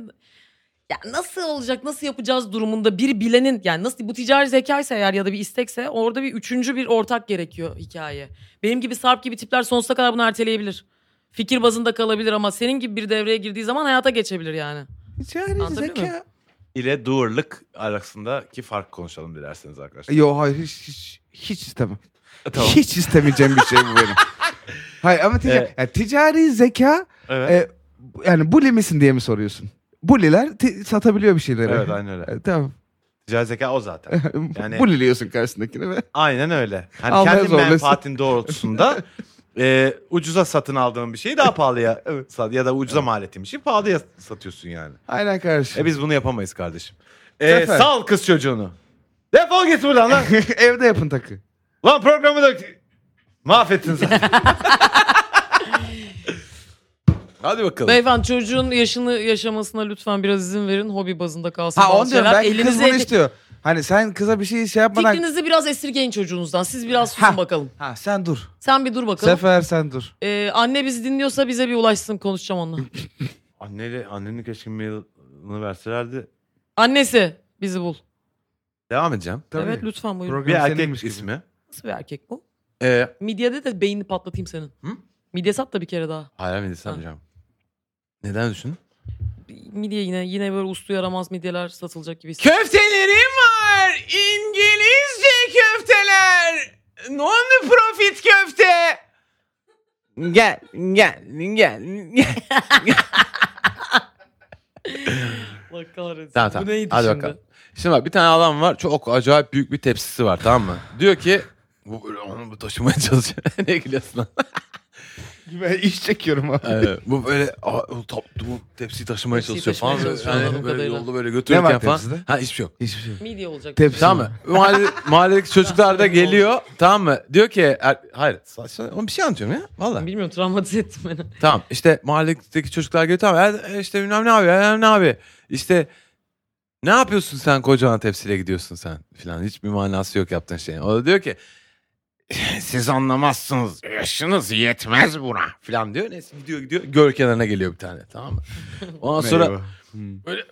Speaker 3: ya nasıl olacak nasıl yapacağız durumunda bir bilenin yani nasıl bu ticari zekaysa eğer ya da bir istekse orada bir üçüncü bir ortak gerekiyor hikaye. Benim gibi Sarp gibi tipler sonsuza kadar bunu erteleyebilir. Fikir bazında kalabilir ama senin gibi bir devreye girdiği zaman hayata geçebilir yani.
Speaker 1: Ticari
Speaker 3: Anlatabiliyor muyum?
Speaker 1: zeka.
Speaker 2: ile doerlık arasındaki fark konuşalım dilerseniz
Speaker 1: [laughs]
Speaker 2: arkadaşlar.
Speaker 1: Yo hayır hiç, hiç, hiç istemem.
Speaker 2: Tamam.
Speaker 1: Hiç istemeyeceğim bir şey
Speaker 2: [laughs]
Speaker 1: bu benim. Hayır ama ticari,
Speaker 2: Evet.
Speaker 1: yani ticari zeka
Speaker 2: Evet.
Speaker 1: e, yani bully misin diye mi soruyorsun? Bully'ler ti- satabiliyor bir şeyleri.
Speaker 2: Evet aynen öyle.
Speaker 1: E, tamam.
Speaker 2: Ticari zeka o zaten. Yani-
Speaker 1: Yani... Bully'liyorsun karşısındakini ve
Speaker 2: Aynen öyle. Hani
Speaker 1: Almaya
Speaker 2: kendi
Speaker 1: zorlasın.
Speaker 2: menfaatin doğrultusunda [laughs] e, ucuza satın aldığın bir şeyi daha [laughs] pahalıya sat ya da ucuza mal ettiğin bir şeyi pahalıya satıyorsun yani.
Speaker 1: aynen karşı.
Speaker 2: E biz bunu yapamayız kardeşim. E, [laughs]
Speaker 1: Zafer.
Speaker 2: sal kız çocuğunu. Defol git buradan lan.
Speaker 1: [laughs] Evde yapın takı.
Speaker 2: Lan programı da mahvettin zaten. [laughs] Hadi bakalım.
Speaker 3: Beyefendi çocuğun yaşını yaşamasına lütfen biraz izin verin. Hobi bazında kalsın.
Speaker 1: Ha
Speaker 3: bazı
Speaker 1: onu diyorum
Speaker 3: şeyler.
Speaker 1: belki kız
Speaker 3: Elinize-
Speaker 1: bunu istiyor. Hani sen kıza bir şey şey yapmadan...
Speaker 3: Fikrinizi biraz esirgeyin çocuğunuzdan. Siz biraz susun
Speaker 1: Ha.
Speaker 3: bakalım.
Speaker 1: Ha sen dur.
Speaker 3: Sen bir dur bakalım.
Speaker 1: Sefer sen dur.
Speaker 3: Ee, anne bizi dinliyorsa bize bir ulaşsın konuşacağım onunla.
Speaker 2: [laughs] Anneli, annenin keşke mailini verselerdi.
Speaker 3: Annesi bizi bul.
Speaker 2: Devam edeceğim.
Speaker 1: Tabii.
Speaker 3: Evet lütfen buyurun.
Speaker 1: Program
Speaker 2: Bir
Speaker 1: seninmiş
Speaker 2: erkek
Speaker 1: gibi.
Speaker 2: ismi.
Speaker 3: Nasıl bir erkek bu?
Speaker 2: Ee,
Speaker 3: Midyede de beynini patlatayım senin.
Speaker 2: Hı?
Speaker 3: Midye sat da bir kere daha.
Speaker 2: hayır ben sanmayacağım. Neden düşün?
Speaker 3: Midye yine yine böyle uslu yaramaz midyeler satılacak gibi. hissediyorum.
Speaker 2: Köftelerim var. İngilizce köfteler. Non profit köfte. Gel, gel, gel, gel.
Speaker 3: Allah kahretsin.
Speaker 2: Tamam, tamam.
Speaker 3: Bu neydi
Speaker 2: Hadi
Speaker 3: şimdi?
Speaker 2: bakalım. Şimdi bak bir tane adam var. Çok acayip büyük bir tepsisi var tamam mı? Diyor ki bu böyle onu bu taşımaya çalışıyor. [laughs] ne gülüyorsun lan?
Speaker 1: Ben iş çekiyorum abi.
Speaker 2: Evet, [laughs] bu böyle aa, o top, bu tepsiyi taşımaya
Speaker 3: Tepsiyi
Speaker 2: çalışıyor falan.
Speaker 3: taşımaya çalışıyor
Speaker 2: Yani
Speaker 3: anladığım
Speaker 2: böyle
Speaker 3: kadarıyla.
Speaker 2: yolda böyle götürürken
Speaker 1: Ne var
Speaker 2: falan.
Speaker 1: tepside?
Speaker 2: Ha hiçbir şey yok.
Speaker 1: Hiçbir şey. yok.
Speaker 3: Midye olacak.
Speaker 1: Tepsi.
Speaker 2: Tamam [laughs] mı? Mahalle, mahalledeki çocuklar da geliyor. tamam mı? Diyor ki er- hayır saçma oğlum bir şey anlatıyorum ya. Valla.
Speaker 3: Bilmiyorum travmatize ettim beni.
Speaker 2: Tamam işte mahalledeki çocuklar geliyor tamam "E, işte bilmem ne abi bilmem ne abi işte ne yapıyorsun sen kocaman tepsiyle gidiyorsun sen filan hiçbir manası yok yaptığın şeyin. O da diyor ki "Eh, siz anlamazsınız yaşınız yetmez buna filan diyor. Neyse gidiyor gidiyor göl kenarına geliyor bir tane tamam mı? Ondan sonra
Speaker 1: Merhaba. Hmm.
Speaker 2: Böyle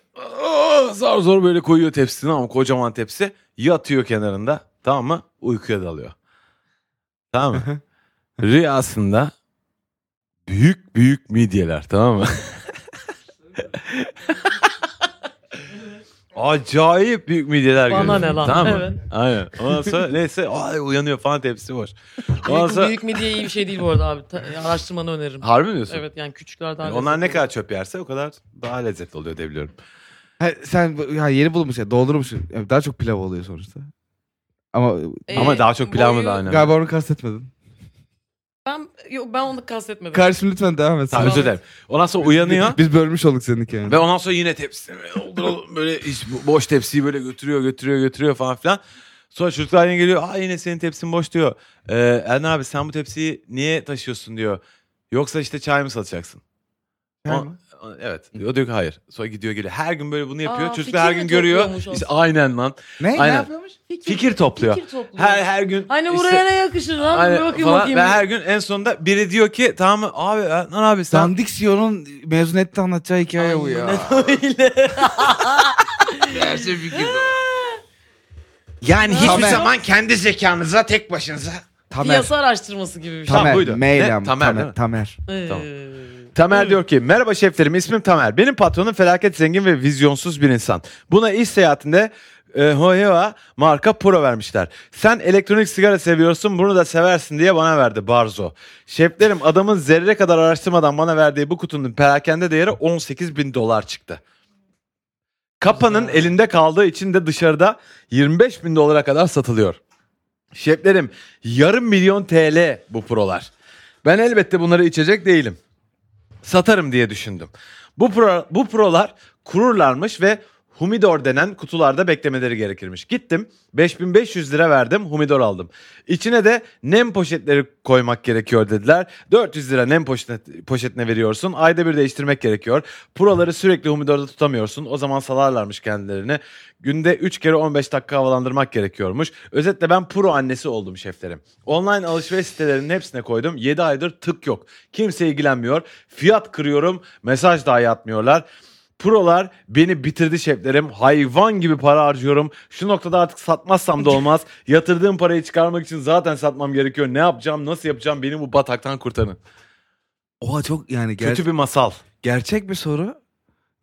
Speaker 2: "Aa!" zar zor böyle koyuyor tepsisini ama kocaman tepsi. Yatıyor kenarında tamam mı? Uykuya dalıyor. Tamam mı? Rüyasında büyük büyük midyeler tamam mı? Acayip büyük midyeler
Speaker 3: Bana
Speaker 2: görüyorum,
Speaker 3: ne lan?
Speaker 2: Tamam mı?
Speaker 3: Evet.
Speaker 2: Aynen. Ondan
Speaker 3: [laughs]
Speaker 2: sonra neyse ay, uyanıyor falan tepsi boş. Ondan
Speaker 3: Büyük,
Speaker 2: sonra...
Speaker 3: Hani büyük midye iyi bir şey değil bu arada abi. Ta- araştırmanı öneririm.
Speaker 2: Harbi mi diyorsun?
Speaker 3: Evet yani küçüklerden.
Speaker 2: Yani onlar ne kadar çöp yerse o kadar daha lezzetli oluyor diye biliyorum.
Speaker 1: Ha, sen bu- ha, yeni bulmuş ya doldurmuşsun. Evet, Daha çok pilav oluyor sonuçta. Ama
Speaker 3: Ee,
Speaker 2: Ama daha çok pilav mı da aynen.
Speaker 1: galiba onu kastetmedin.
Speaker 3: Ben, yok, ben onu kastetmedim.
Speaker 1: Kardeşim lütfen devam et.
Speaker 2: Tamam
Speaker 1: sen.
Speaker 2: özür dilerim. Ondan sonra uyanıyor.
Speaker 1: Biz bölmüş olduk seninki yani.
Speaker 2: Ve ondan sonra yine tepsi dolduralım böyle hiç boş tepsiyi böyle götürüyor götürüyor götürüyor falan filan. Sonra çocuklar yine geliyor. Aa yine senin tepsin boş diyor. Ee, Erna abi sen bu tepsiyi niye taşıyorsun diyor. Yoksa işte çay mı satacaksın?
Speaker 1: Tamam
Speaker 2: O-
Speaker 1: mı?
Speaker 2: o- Evet. Diyor, diyor ki hayır. Sonra gidiyor geliyor. Her gün böyle bunu yapıyor.
Speaker 3: Aa,
Speaker 2: çocuklar her
Speaker 3: fikir
Speaker 2: gün
Speaker 3: mi
Speaker 2: görüyor.
Speaker 3: topluyormuş
Speaker 2: İşte
Speaker 3: aslında?
Speaker 2: aynen lan.
Speaker 1: Ne?
Speaker 2: Aynen.
Speaker 1: Ne yapıyormuş?
Speaker 2: Fikir topluyor.
Speaker 3: Fikir topluyor.
Speaker 2: Her her gün.
Speaker 3: Hani
Speaker 2: işte-
Speaker 3: buraya ne yakışır lan?
Speaker 2: Aynen
Speaker 3: Bir bakayım
Speaker 2: falan.
Speaker 3: bakayım.
Speaker 2: Ve her gün en sonunda biri diyor ki tamam mı? abi Erna abi sen
Speaker 1: Dandik Siyon'un mezuniyette anlatacağı hikaye bu ya.
Speaker 4: Yani hiçbir
Speaker 1: Tamer.
Speaker 4: zaman kendi zekanıza tek başınıza
Speaker 1: Tamer.
Speaker 3: Piyasa araştırması gibi bir şey.
Speaker 2: Tam
Speaker 1: Tamer.
Speaker 2: buydu. Ne?
Speaker 1: Mail am-
Speaker 2: Tamer, değil mi?
Speaker 1: Tamer. Tamer.
Speaker 3: Ee,
Speaker 2: Tamam. Tamer diyor ki merhaba şeflerim ismim Tamer. Benim patronum felaket zengin ve vizyonsuz bir insan. Buna iş seyahatinde e, Hoheva marka Pro vermişler. Sen elektronik sigara seviyorsun bunu da seversin diye bana verdi Barzo. Şeflerim adamın zerre kadar araştırmadan bana verdiği bu kutunun perakende değeri 18 bin dolar çıktı. Kapanın
Speaker 3: Güzel.
Speaker 2: elinde kaldığı için de dışarıda 25 bin dolara kadar satılıyor. Şeflerim yarım milyon TL bu prolar. Ben elbette bunları içecek değilim. Satarım diye düşündüm. Bu, pro, bu prolar kururlarmış ve humidor denen kutularda beklemeleri gerekirmiş. Gittim 5500 lira verdim humidor aldım. İçine de nem poşetleri koymak gerekiyor dediler. 400 lira nem poşet, poşetine veriyorsun. Ayda bir değiştirmek gerekiyor. Proları sürekli humidorda tutamıyorsun. O zaman salarlarmış kendilerini. Günde 3 kere 15 dakika havalandırmak gerekiyormuş. Özetle ben pro annesi oldum şeflerim. Online alışveriş sitelerinin hepsine koydum. 7 aydır tık yok. Kimse ilgilenmiyor. Fiyat kırıyorum. Mesaj dahi atmıyorlar. Prolar beni bitirdi şeflerim. Hayvan gibi para harcıyorum. Şu noktada artık satmazsam da olmaz. Yatırdığım parayı çıkarmak için zaten satmam gerekiyor. Ne yapacağım, nasıl yapacağım? Beni bu bataktan kurtarın.
Speaker 1: Oha çok yani ger-
Speaker 2: Kötü bir masal.
Speaker 1: gerçek bir soru.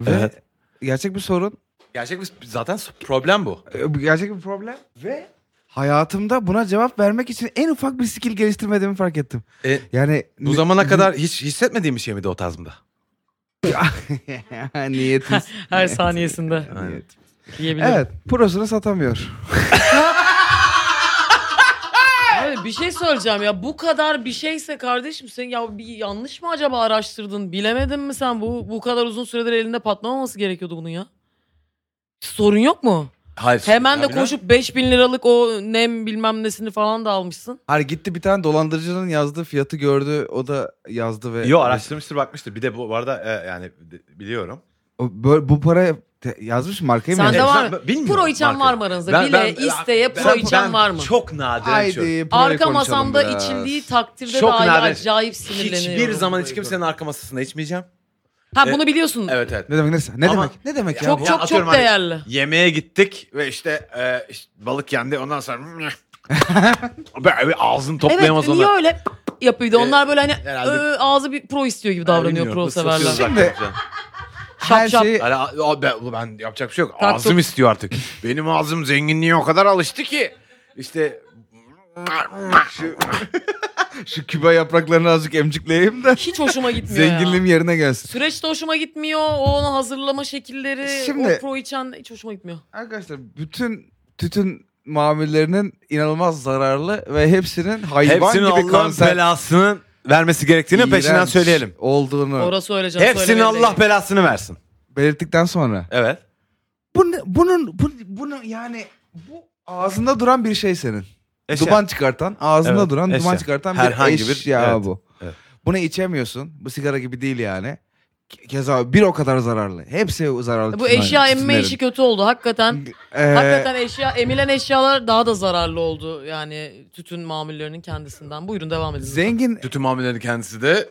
Speaker 1: Ve
Speaker 2: Evet.
Speaker 1: gerçek bir sorun.
Speaker 2: Gerçek bir zaten problem bu.
Speaker 1: e, bu Gerçek bir problem. Ve hayatımda buna cevap vermek için en ufak bir skill geliştirmediğimi fark ettim.
Speaker 2: E,
Speaker 1: Yani
Speaker 2: bu zamana
Speaker 1: [laughs]
Speaker 2: kadar hiç hissetmediğim bir şey miydi o tazmında?
Speaker 1: niyetimiz.
Speaker 3: Her saniyesinde
Speaker 2: Aynen.
Speaker 3: diyebilirim.
Speaker 1: Evet, prosunu satamıyor.
Speaker 3: Abi bir şey söyleyeceğim ya bu kadar bir şeyse kardeşim sen ya bir yanlış mı acaba araştırdın bilemedin mi sen bu bu kadar uzun süredir elinde patlamaması gerekiyordu bunun ya. Sorun yok mu?
Speaker 2: Hayır.
Speaker 3: Hemen
Speaker 2: Ya
Speaker 3: de
Speaker 2: bilmem.
Speaker 3: koşup 5000 liralık o nem bilmem nesini falan da almışsın.
Speaker 1: Hayır gitti bir tane dolandırıcının yazdığı fiyatı gördü. O da yazdı ve...
Speaker 2: Yo araştırmıştır bakmıştır. Bir de bu, bu arada e, yani de- biliyorum.
Speaker 1: O- bö- bu para te- yazmış markayı mı?
Speaker 3: Sende
Speaker 1: yazmış?
Speaker 2: Evet,
Speaker 3: var mı?
Speaker 2: ben- bilmiyorum
Speaker 3: Pro içen
Speaker 2: markayı.
Speaker 3: var mı aranızda? Bile isteye pro
Speaker 2: Hmm. ben-
Speaker 3: içen
Speaker 2: ben
Speaker 3: var mı?
Speaker 2: Çok nadiren içiyorum.
Speaker 1: Haydi proya
Speaker 3: Arka
Speaker 1: konuşalım
Speaker 3: masamda
Speaker 1: biraz.
Speaker 3: içildiği takdirde
Speaker 2: Çok
Speaker 3: dahi
Speaker 2: nadir.
Speaker 3: acayip sinirleniyorum.
Speaker 2: Hiçbir zaman hiç kimsenin arka masasında içmeyeceğim.
Speaker 3: Ha bunu biliyorsun.
Speaker 2: Evet evet.
Speaker 1: Ne demek neresi? Ne
Speaker 2: Ama-
Speaker 1: demek? Ne demek ya?
Speaker 3: Çok
Speaker 1: bu?
Speaker 3: çok
Speaker 2: atıyorum
Speaker 3: çok
Speaker 2: hani-
Speaker 3: değerli.
Speaker 2: [laughs] Yemeğe gittik ve işte, e, işte balık yendi ondan sonra [laughs] böyle ağzını toplayamaz
Speaker 3: evet,
Speaker 2: onlar.
Speaker 3: niye öyle yapıyordu? Onlar böyle hani
Speaker 2: herhalde-
Speaker 3: ö, ağzı bir pro istiyor gibi davranıyor pro severler.
Speaker 1: Şimdi-
Speaker 3: Şap
Speaker 1: Her
Speaker 3: şap.
Speaker 1: şeyi
Speaker 2: Hani, a- a- ben, ulan ben yapacak bir şey yok.
Speaker 3: Tak,
Speaker 2: ağzım
Speaker 3: tok.
Speaker 2: istiyor artık. Benim ağzım zenginliğe o kadar alıştı ki.
Speaker 3: [laughs]
Speaker 2: İşte şu
Speaker 1: şu küba yapraklarını azıcık emcikleyeyim de
Speaker 3: Hiç hoşuma gitmiyor ya.
Speaker 1: zenginliğim yerine gelsin.
Speaker 3: Süreç de hoşuma gitmiyor. O onu hazırlama şekilleri,
Speaker 1: Şimdi-
Speaker 3: o pro içen de hiç hoşuma gitmiyor.
Speaker 1: Arkadaşlar bütün tütün mamullerinin inanılmaz zararlı ve hepsinin hayvan
Speaker 2: hepsinin
Speaker 1: gibi
Speaker 2: Allah'ın
Speaker 1: kanser
Speaker 2: belasının vermesi gerektiğini peşinden
Speaker 1: iğrenç
Speaker 2: söyleyelim.
Speaker 1: olduğunu
Speaker 3: Orası öyle canım.
Speaker 2: Hepsinin
Speaker 3: söylemeye
Speaker 2: Allah
Speaker 3: değer.
Speaker 2: belasını versin.
Speaker 1: belirttikten sonra.
Speaker 2: Evet.
Speaker 1: Bu ne- bunun bu, bunu yani bu ağzında duran bir şey senin.
Speaker 2: Eşya.
Speaker 1: Duman çıkartan, ağzında
Speaker 2: Evet,
Speaker 1: duran, duman
Speaker 2: eşya.
Speaker 1: çıkartan
Speaker 2: Herhangi
Speaker 1: bir
Speaker 2: bir-
Speaker 1: eşya
Speaker 2: evet,
Speaker 1: bu.
Speaker 2: evet.
Speaker 1: Bunu içemiyorsun. Bu sigara gibi değil yani. Ke- Keza bir o kadar zararlı. Hepsi zararlı.
Speaker 3: Bu
Speaker 1: tütünler-
Speaker 3: eşya emme
Speaker 1: tütünlerin.
Speaker 3: işi kötü oldu hakikaten.
Speaker 1: Ee,
Speaker 3: Hakikaten eşya emilen eşyalar daha da zararlı oldu. Yani tütün mamullerinin kendisinden. Buyurun devam edin.
Speaker 1: zengin
Speaker 2: Tütün mamulleri kendisi de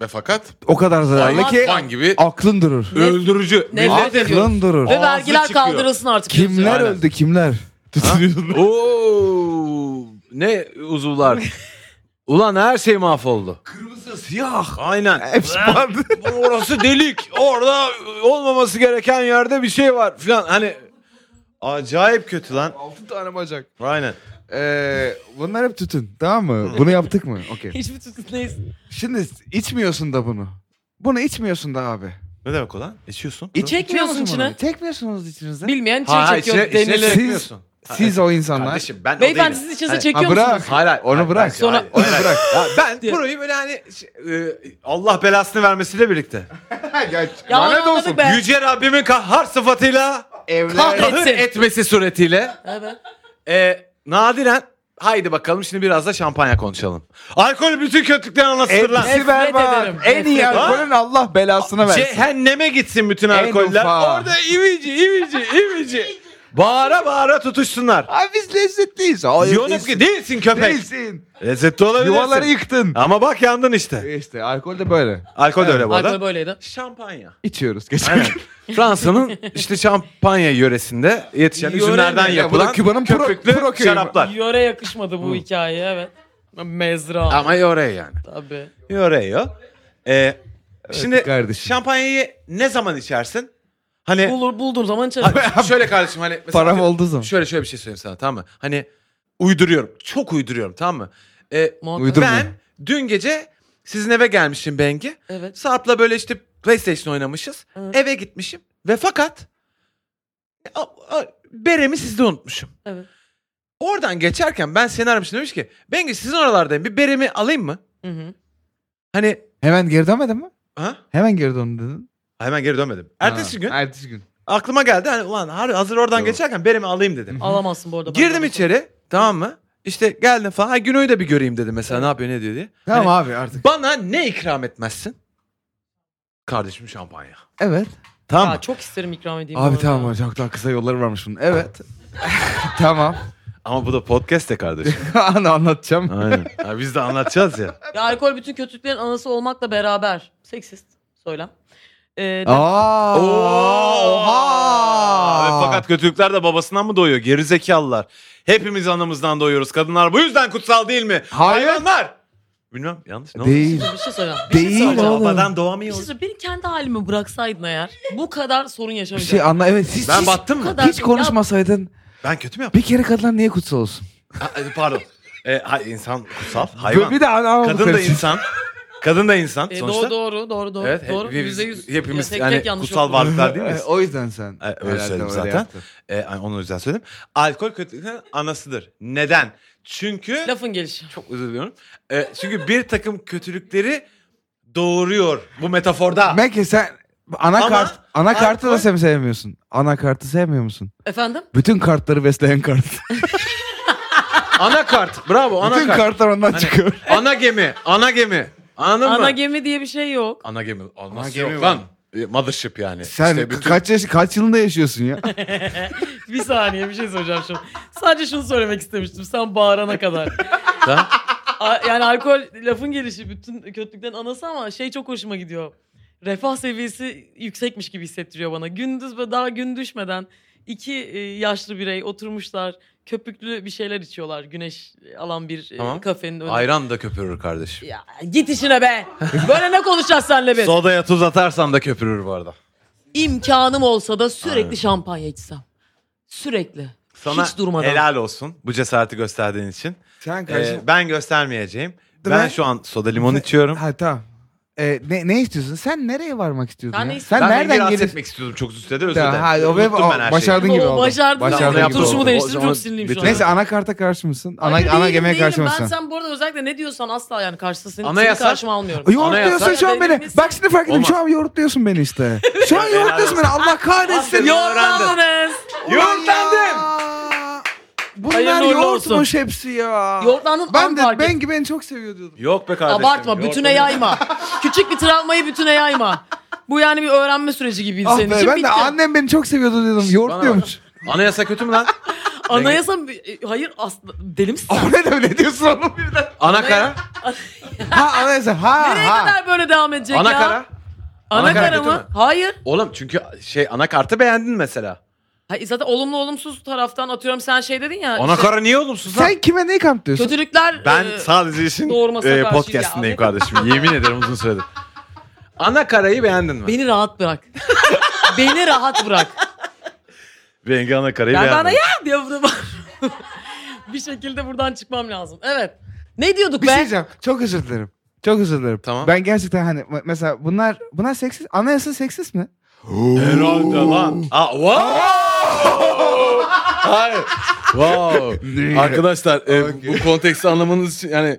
Speaker 2: ve fakat
Speaker 1: o kadar zararlı
Speaker 3: Olmaz
Speaker 1: ki
Speaker 3: ya.
Speaker 2: fan gibi
Speaker 1: aklın durur.
Speaker 3: Nef-
Speaker 2: öldürücü.
Speaker 3: nefret
Speaker 2: Millet-
Speaker 3: ediyorum.
Speaker 1: Aklın durur.
Speaker 3: Ve
Speaker 2: Ağzı
Speaker 3: vergiler
Speaker 2: çıkıyor.
Speaker 3: kaldırılsın artık.
Speaker 1: Kimler
Speaker 2: Aynen.
Speaker 1: öldü kimler? Tütün yüzünden.
Speaker 2: [laughs] Oo, ne uzuvlar. Ulan her şey mahvoldu.
Speaker 1: Kırmızı, siyah.
Speaker 2: Aynen.
Speaker 1: Hepsi vardı.
Speaker 2: [laughs] Orası delik. Orada olmaması gereken yerde bir şey var filan. Hani acayip kötü lan.
Speaker 1: Altı tane bacak.
Speaker 2: Aynen.
Speaker 1: Ee, bunlar hep tütün tamam mı? Bunu yaptık mı? Okey.
Speaker 3: Hiçbir tütün neyiz?
Speaker 1: Şimdi içmiyorsun da bunu. Bunu içmiyorsun da abi.
Speaker 2: Ne demek o lan? İçiyorsun.
Speaker 3: E çekmiyorsun
Speaker 1: İçiyor musun
Speaker 3: içine.
Speaker 1: bunu? Çekmiyorsunuz içinizde.
Speaker 3: Bilmeyen
Speaker 2: Ha, ha, şey,
Speaker 3: çiğ çekiyor
Speaker 2: içine- içine
Speaker 3: denilir.
Speaker 1: Siz-
Speaker 2: çekmiyorsun. Ha,
Speaker 1: Siz o insanlar.
Speaker 2: Kardeşim ben o
Speaker 3: Beyefendi
Speaker 2: değilim.
Speaker 3: siz içinize
Speaker 2: Hayır.
Speaker 1: şey, Ha,
Speaker 3: çekiyor
Speaker 1: bırak.
Speaker 3: musunuz?
Speaker 2: Hayır, hayır,
Speaker 1: Onu
Speaker 2: hayır,
Speaker 1: bırak.
Speaker 2: hayır,
Speaker 3: Sonra-
Speaker 2: hayır, hayır.
Speaker 1: bırak.
Speaker 2: Ya ben
Speaker 3: Diye.
Speaker 2: burayı böyle hani e, Allah belasını vermesiyle birlikte.
Speaker 1: ya,
Speaker 3: Ya onu anladık be.
Speaker 2: Yüce Rabbimin kahhar sıfatıyla
Speaker 1: Evler.
Speaker 3: Kahret-
Speaker 2: kahır
Speaker 3: Etsin.
Speaker 2: etmesi suretiyle
Speaker 3: Evet.
Speaker 2: e, nadiren haydi bakalım şimdi biraz da şampanya konuşalım. Alkol bütün kötülüklerini
Speaker 1: E,
Speaker 2: anlatır lan.
Speaker 1: Hepsi berbat.
Speaker 3: ederim.
Speaker 1: En iyi
Speaker 3: Nefret
Speaker 1: alkolün Allah belasına şey
Speaker 2: Şey,
Speaker 1: versin.
Speaker 2: Cehenneme gitsin bütün
Speaker 1: En
Speaker 2: alkoller.
Speaker 1: ufağı.
Speaker 2: Orada ivici ivici ivici. Bağıra bağıra tutuşsunlar.
Speaker 1: Abi biz lezzetliyiz. Hayır,
Speaker 2: Yonup ki değilsin köpek.
Speaker 1: Değilsin.
Speaker 2: Lezzetli olabilirsin.
Speaker 1: Yuvaları yıktın.
Speaker 2: Ama bak yandın işte.
Speaker 1: İşte alkol de böyle.
Speaker 2: Alkol de öyle bu
Speaker 3: Alkol
Speaker 2: arada.
Speaker 3: böyleydi.
Speaker 2: Şampanya.
Speaker 1: İçiyoruz. Geçen
Speaker 2: Aynen. Fransa'nın işte şampanya yöresinde yetişen
Speaker 3: Yöre
Speaker 2: üzümlerden
Speaker 1: mi? Ya bu
Speaker 2: yapılan
Speaker 1: da Küba'nın pro-
Speaker 2: köpüklü
Speaker 1: pro köyü mü?
Speaker 2: şaraplar.
Speaker 3: Yöre yakışmadı bu hikaye evet. Mezra.
Speaker 2: Ama yöre yani.
Speaker 3: Tabii.
Speaker 2: Yöre yo. Ee, şimdi
Speaker 1: kardeşim.
Speaker 2: şampanyayı ne zaman içersin? Hani
Speaker 3: Bulur, bulduğum
Speaker 2: [laughs]
Speaker 3: zaman içerim.
Speaker 2: Hani şöyle kardeşim hani mesela
Speaker 1: param
Speaker 2: atıyorum,
Speaker 1: olduğu zaman.
Speaker 2: Şöyle şöyle bir şey söyleyeyim sana tamam mı? Hani uyduruyorum. Çok uyduruyorum tamam mı? Ee,
Speaker 3: Muhakkak.
Speaker 1: Uydur- Uydurmayın.
Speaker 2: ben dün gece sizin eve gelmişim Bengi.
Speaker 3: Evet.
Speaker 2: Sarp'la böyle işte PlayStation oynamışız.
Speaker 3: Evet.
Speaker 2: Eve gitmişim ve fakat a- a- Berem'i sizde unutmuşum.
Speaker 3: Evet.
Speaker 2: Oradan geçerken ben seni aramıştım demiş ki Bengi sizin oralardayım bir Berem'i alayım mı?
Speaker 3: Hı hı.
Speaker 2: Hani
Speaker 1: Hemen geri dönmedin mi?
Speaker 2: ha?
Speaker 1: Hemen geri dön dedin.
Speaker 2: Hemen geri dönmedim. Ertesi
Speaker 1: Ha,
Speaker 2: gün
Speaker 1: Ertesi gün.
Speaker 2: aklıma geldi hani ulan har- hazır oradan
Speaker 1: Doğru.
Speaker 2: geçerken Berem'i alayım dedim.
Speaker 3: Alamazsın bu arada. ben
Speaker 2: Girdim
Speaker 3: bunu.
Speaker 2: içeri tamam mı? İşte geldim falan. Ha Günoy'u da bir göreyim dedim mesela ne yapıyor ne diyor diye.
Speaker 1: Tamam
Speaker 2: Hani
Speaker 1: abi artık.
Speaker 2: bana ne ikram etmezsin? Kardeşim şampanya.
Speaker 1: Evet.
Speaker 2: Tamam mı?
Speaker 3: Aa, çok isterim ikram edeyim. bu
Speaker 1: Abi
Speaker 3: arada.
Speaker 1: tamam var. Çok daha kısa yolları varmış bunun. Evet. [laughs] tamam. [laughs]
Speaker 2: Ama bu da podcast de kardeşim.
Speaker 1: Anı anlatacağım.
Speaker 2: Aynen. Ha, biz de anlatacağız ya.
Speaker 3: Ya alkol bütün kötülüklerin anası olmakla beraber. Seksist söylem. Ee,
Speaker 1: Aa.
Speaker 2: Ve
Speaker 1: Oha.
Speaker 2: fakat kötülükler de babasından mı doğuyor? Geri zekalılar. Hepimiz anamızdan doğuyoruz. Kadınlar bu yüzden kutsal değil mi?
Speaker 1: Hayır.
Speaker 2: Hayvanlar. Bilmem yanlış. Ne oldu?
Speaker 1: Değil.
Speaker 3: bir şey söyleyeceğim. Bir şey
Speaker 1: Değil
Speaker 3: söyleyeceğim.
Speaker 1: oğlum.
Speaker 2: Babadan
Speaker 3: Bir şey
Speaker 2: doğamıyoruz.
Speaker 3: söyleyeceğim. Beni kendi halime bıraksaydın eğer bu kadar sorun
Speaker 1: Bir şey
Speaker 3: yaşamayacaktım.
Speaker 1: anla. Evet. Hiç,
Speaker 2: Ben
Speaker 1: hiç,
Speaker 2: battım mı?
Speaker 3: kadar-
Speaker 1: hiç konuşmasaydın.
Speaker 2: Ben kötü mü yaptım?
Speaker 1: Bir kere kadınlar niye kutsal olsun?
Speaker 2: Ha, pardon. Ee, ha, insan kutsal. Hayvan.
Speaker 1: Bir de ana ana
Speaker 2: Kadın da insan. Kadın da insan
Speaker 3: E,
Speaker 2: sonuçta.
Speaker 3: doğru doğru doğru doğru.
Speaker 2: Evet,
Speaker 3: doğru.
Speaker 2: hepimiz-
Speaker 3: Yüzde yüz.
Speaker 2: hepimiz
Speaker 3: Ya tek
Speaker 2: yani
Speaker 3: tek yanlış
Speaker 2: kutsal
Speaker 3: okudum.
Speaker 2: varlıklar değil miyiz?
Speaker 1: [laughs] o yüzden sen.
Speaker 2: E, öyle
Speaker 1: herhalde
Speaker 2: söyledim zaten.
Speaker 1: yaptın.
Speaker 2: Ee, onu o yüzden söyledim. Alkol kötülüklerin anasıdır. Neden? Çünkü
Speaker 3: Lafın gelişi.
Speaker 2: çok özür diliyorum. Ee, çünkü bir takım kötülükleri doğuruyor bu metaforda.
Speaker 1: Belki sen Anakart, anakartı
Speaker 2: Ama-
Speaker 1: da sen sevmiyorsun. Anakartı sevmiyor musun?
Speaker 3: Efendim?
Speaker 1: Bütün kartları besleyen kart.
Speaker 2: Anakart. Bravo
Speaker 1: Bütün
Speaker 2: anakart.
Speaker 1: kartlar ondan
Speaker 2: Hani- [laughs]
Speaker 1: çıkıyor.
Speaker 2: Ana gemi. Ana gemi. Anladın mı?
Speaker 3: Ana gemi diye bir şey yok.
Speaker 2: Ana gemi. Aa, Nasıl
Speaker 4: gemi
Speaker 2: yok
Speaker 4: var.
Speaker 2: lan? E, Mothership yani.
Speaker 1: Sen [laughs]
Speaker 2: İşte bütün-
Speaker 1: kaç yaş, kaç yılında
Speaker 2: [laughs]
Speaker 1: yaşıyorsun ya?
Speaker 3: [laughs] Bir saniye bir şey soracağım şu an. Sadece şunu söylemek istemiştim. Sen bağırana kadar.
Speaker 2: Sen-
Speaker 3: A- yani alkol lafın gelişi bütün kötülüklerin anası ama şey çok hoşuma gidiyor. Refah seviyesi yüksekmiş gibi hissettiriyor bana. Gündüz ve daha gün düşmeden iki e, yaşlı birey oturmuşlar. Köpüklü bir şeyler içiyorlar. Güneş alan bir e,
Speaker 2: Tamam.
Speaker 3: kafenin önünde.
Speaker 2: Ayran da köpürür kardeşim.
Speaker 3: Ya, git işine be. Böyle ne konuşacağız senle biz?
Speaker 2: Sodaya tuz atarsan da köpürür bu arada.
Speaker 3: İmkanım olsa da sürekli
Speaker 2: Aynen.
Speaker 3: şampanya içsem. Sürekli.
Speaker 2: Sana
Speaker 3: Hiç durmadan.
Speaker 2: helal olsun bu cesareti gösterdiğin için.
Speaker 1: Sen
Speaker 2: Ee, ben göstermeyeceğim.
Speaker 1: Değil
Speaker 2: ben
Speaker 1: mi?
Speaker 2: şu an soda limon içiyorum.
Speaker 1: Ha tamam. Ee, ne, ne istiyorsun? Sen nereye varmak istiyordun?
Speaker 3: Sen
Speaker 1: ya?
Speaker 3: ne
Speaker 1: Sen
Speaker 2: ben
Speaker 1: nereden
Speaker 2: rahatsız
Speaker 1: geliyorsun?
Speaker 2: etmek istiyordum çok üstüde özür dilerim.
Speaker 1: Ha, ha, o,
Speaker 2: Unuttum
Speaker 1: o-
Speaker 2: ben her şeyi.
Speaker 1: başardın gibi
Speaker 3: O
Speaker 1: oldu.
Speaker 2: Başardın
Speaker 3: başardın.
Speaker 1: Başardın
Speaker 2: gibi
Speaker 1: gibi oldu.
Speaker 3: Duruşumu
Speaker 2: oldu.
Speaker 3: değiştirdim
Speaker 2: O zaman
Speaker 3: çok sinirliyim şu
Speaker 2: bütün-
Speaker 3: an.
Speaker 1: Neyse anakarta karşı mısın? Ana,
Speaker 3: Hayır,
Speaker 1: ana
Speaker 3: değilim,
Speaker 1: gemiye
Speaker 3: değilim.
Speaker 1: karşı
Speaker 3: Ben
Speaker 1: mısın?
Speaker 3: sen bu arada özellikle ne diyorsan asla yani karşısına seni,
Speaker 2: Anayasa-
Speaker 3: seni karşıma almıyorum.
Speaker 1: Yoğurtluyorsun
Speaker 2: Anayasa-
Speaker 1: şu an beni.
Speaker 3: Benim-
Speaker 1: Bak şimdi fark ettim.
Speaker 2: Olmaz.
Speaker 1: Şu an yoğurtluyorsun beni
Speaker 3: [laughs]
Speaker 1: işte. Şu an
Speaker 2: Helal
Speaker 1: yoğurtluyorsun beni. Allah kahretsin.
Speaker 2: Aferin.
Speaker 3: Yoğurtlandınız.
Speaker 2: Yoğurtlandım.
Speaker 1: Ya!
Speaker 3: Hayırlı
Speaker 1: Bunlar
Speaker 3: uğurlu
Speaker 1: yoğurtmuş hepsi ya.
Speaker 3: Yoğurtlandın
Speaker 1: Ben
Speaker 3: ben
Speaker 1: de ben gibi en çok seviyordum.
Speaker 2: Yok be kardeşim.
Speaker 3: Abartma
Speaker 2: yok
Speaker 3: bütüne
Speaker 2: be.
Speaker 3: yayma. Küçük bir travmayı bütüne yayma. Bu yani bir öğrenme süreci gibiydi
Speaker 1: Ah
Speaker 3: senin
Speaker 1: be
Speaker 3: için.
Speaker 1: ben
Speaker 3: bitti.
Speaker 1: de annem beni çok seviyordu dedim. Yoğurtluyormuş.
Speaker 2: Anayasa kötü mü lan?
Speaker 3: Anayasa E, hayır asla deli misin? sen?
Speaker 1: O ne demek ne diyorsun
Speaker 3: [laughs]
Speaker 1: oğlum birden?
Speaker 2: Ana kara.
Speaker 1: Ha anayasa ha
Speaker 3: Nereye
Speaker 1: ha.
Speaker 3: kadar böyle devam edecek
Speaker 2: Ana
Speaker 3: ya?
Speaker 2: kara.
Speaker 3: Ana
Speaker 2: Anakara
Speaker 3: kara
Speaker 2: kötü
Speaker 3: mı?
Speaker 2: mü?
Speaker 3: Hayır.
Speaker 2: Oğlum çünkü şey ana kartı beğendin mesela.
Speaker 3: Hayır, zaten olumlu olumsuz taraftan atıyorum sen şey dedin ya.
Speaker 2: Ana
Speaker 3: işte
Speaker 2: kara niye olumsuz lan?
Speaker 1: Sen kime neyi kanıtlıyorsun?
Speaker 3: Kötülükler
Speaker 2: Ben
Speaker 3: e,
Speaker 2: sadece işin
Speaker 3: doğurmasına
Speaker 2: e,
Speaker 3: karşı
Speaker 2: podcastindeyim
Speaker 3: şey ya. [laughs]
Speaker 2: kardeşim. Yemin ederim uzun süredir. Ana karayı beğendin mi?
Speaker 3: Beni rahat bırak. [laughs] Beni rahat bırak.
Speaker 2: Bengi ana karayı
Speaker 3: Ben
Speaker 2: beğendim.
Speaker 3: bana ya diye burada [laughs] bir şekilde buradan çıkmam lazım. Evet. Ne diyorduk
Speaker 1: Bir
Speaker 3: be?
Speaker 1: şey diyeceğim. Çok özür dilerim. Çok özür dilerim.
Speaker 2: Tamam.
Speaker 1: Ben gerçekten hani m- mesela bunlar bunlar seksiz. Anayasa seksiz mi?
Speaker 2: Herhalde lan. Aa, wow. Hayır. Wow. Arkadaşlar e, bu konteksti anlamanız için yani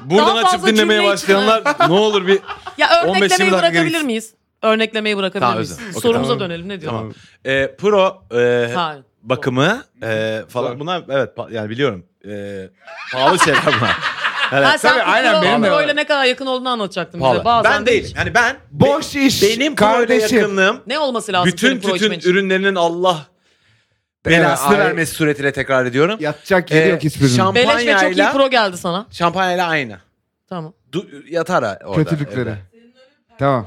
Speaker 2: buradan
Speaker 3: Daha
Speaker 2: açıp
Speaker 3: fazla
Speaker 2: dinlemeye
Speaker 3: cümle
Speaker 2: başlayanlar ne olur bir
Speaker 3: Ya
Speaker 2: 15-20 dakika
Speaker 3: örneklemeyi bırakabilir
Speaker 2: gerek.
Speaker 3: miyiz? Örneklemeyi bırakabilir
Speaker 2: Tamam,
Speaker 3: miyiz?
Speaker 2: özür dilerim. Okey,
Speaker 3: Sorumuza
Speaker 1: tamam.
Speaker 3: dönelim ne diyorsun?
Speaker 2: tamam. E, pro e,
Speaker 3: Ha.
Speaker 2: bakımı e, falan buna evet pa- yani biliyorum. E, pahalı şeyler
Speaker 3: [laughs]
Speaker 2: bunlar. Evet,
Speaker 3: Ha, sen
Speaker 2: tabii, aynen benim de.
Speaker 3: Pro
Speaker 2: var.
Speaker 3: ile ne kadar yakın olduğunu anlatacaktın bize.
Speaker 2: Pahalı.
Speaker 3: Bazen
Speaker 2: Ben
Speaker 3: de
Speaker 2: değilim.
Speaker 3: hiç.
Speaker 2: Yani ben
Speaker 1: Boş iş.
Speaker 2: benim pro ile
Speaker 1: kardeşim.
Speaker 2: yakınlığım
Speaker 3: Ne olması lazım?
Speaker 2: bütün
Speaker 3: senin pro
Speaker 2: tütün
Speaker 3: içmen için?
Speaker 2: ürünlerinin Allah
Speaker 1: Evet,
Speaker 2: belasını
Speaker 1: ay-
Speaker 2: vermesi suretiyle tekrar ediyorum.
Speaker 1: Yatacak yeri
Speaker 2: Ee,
Speaker 1: yok hiçbirinin.
Speaker 2: şamp-
Speaker 3: Beleş ve çok iyi
Speaker 2: kampanyayla-
Speaker 3: pro geldi sana.
Speaker 2: Şampanyayla aynı.
Speaker 3: Tamam.
Speaker 2: Du- yatar ha orada.
Speaker 1: Kötülükleri.
Speaker 2: evde.
Speaker 1: Tamam.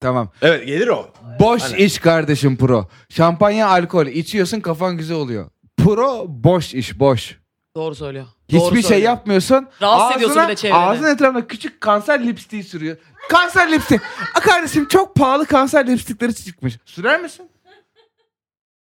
Speaker 1: Tamam.
Speaker 2: Evet gelir o.
Speaker 1: Boş
Speaker 2: Aynen.
Speaker 1: iş kardeşim pro. Şampanya alkol içiyorsun kafan güzel oluyor. Pro boş iş boş.
Speaker 3: Doğru söylüyor.
Speaker 1: Hiçbir
Speaker 3: Doğru
Speaker 1: şey
Speaker 3: söylüyor.
Speaker 1: yapmıyorsun.
Speaker 3: Rahatsız ediyorsun bir de çevreni.
Speaker 1: Ağzının etrafına küçük kanser lipstiği sürüyor. Kanser lipstiği. A kardeşim çok pahalı kanser lipstikleri çıkmış. Sürer misin?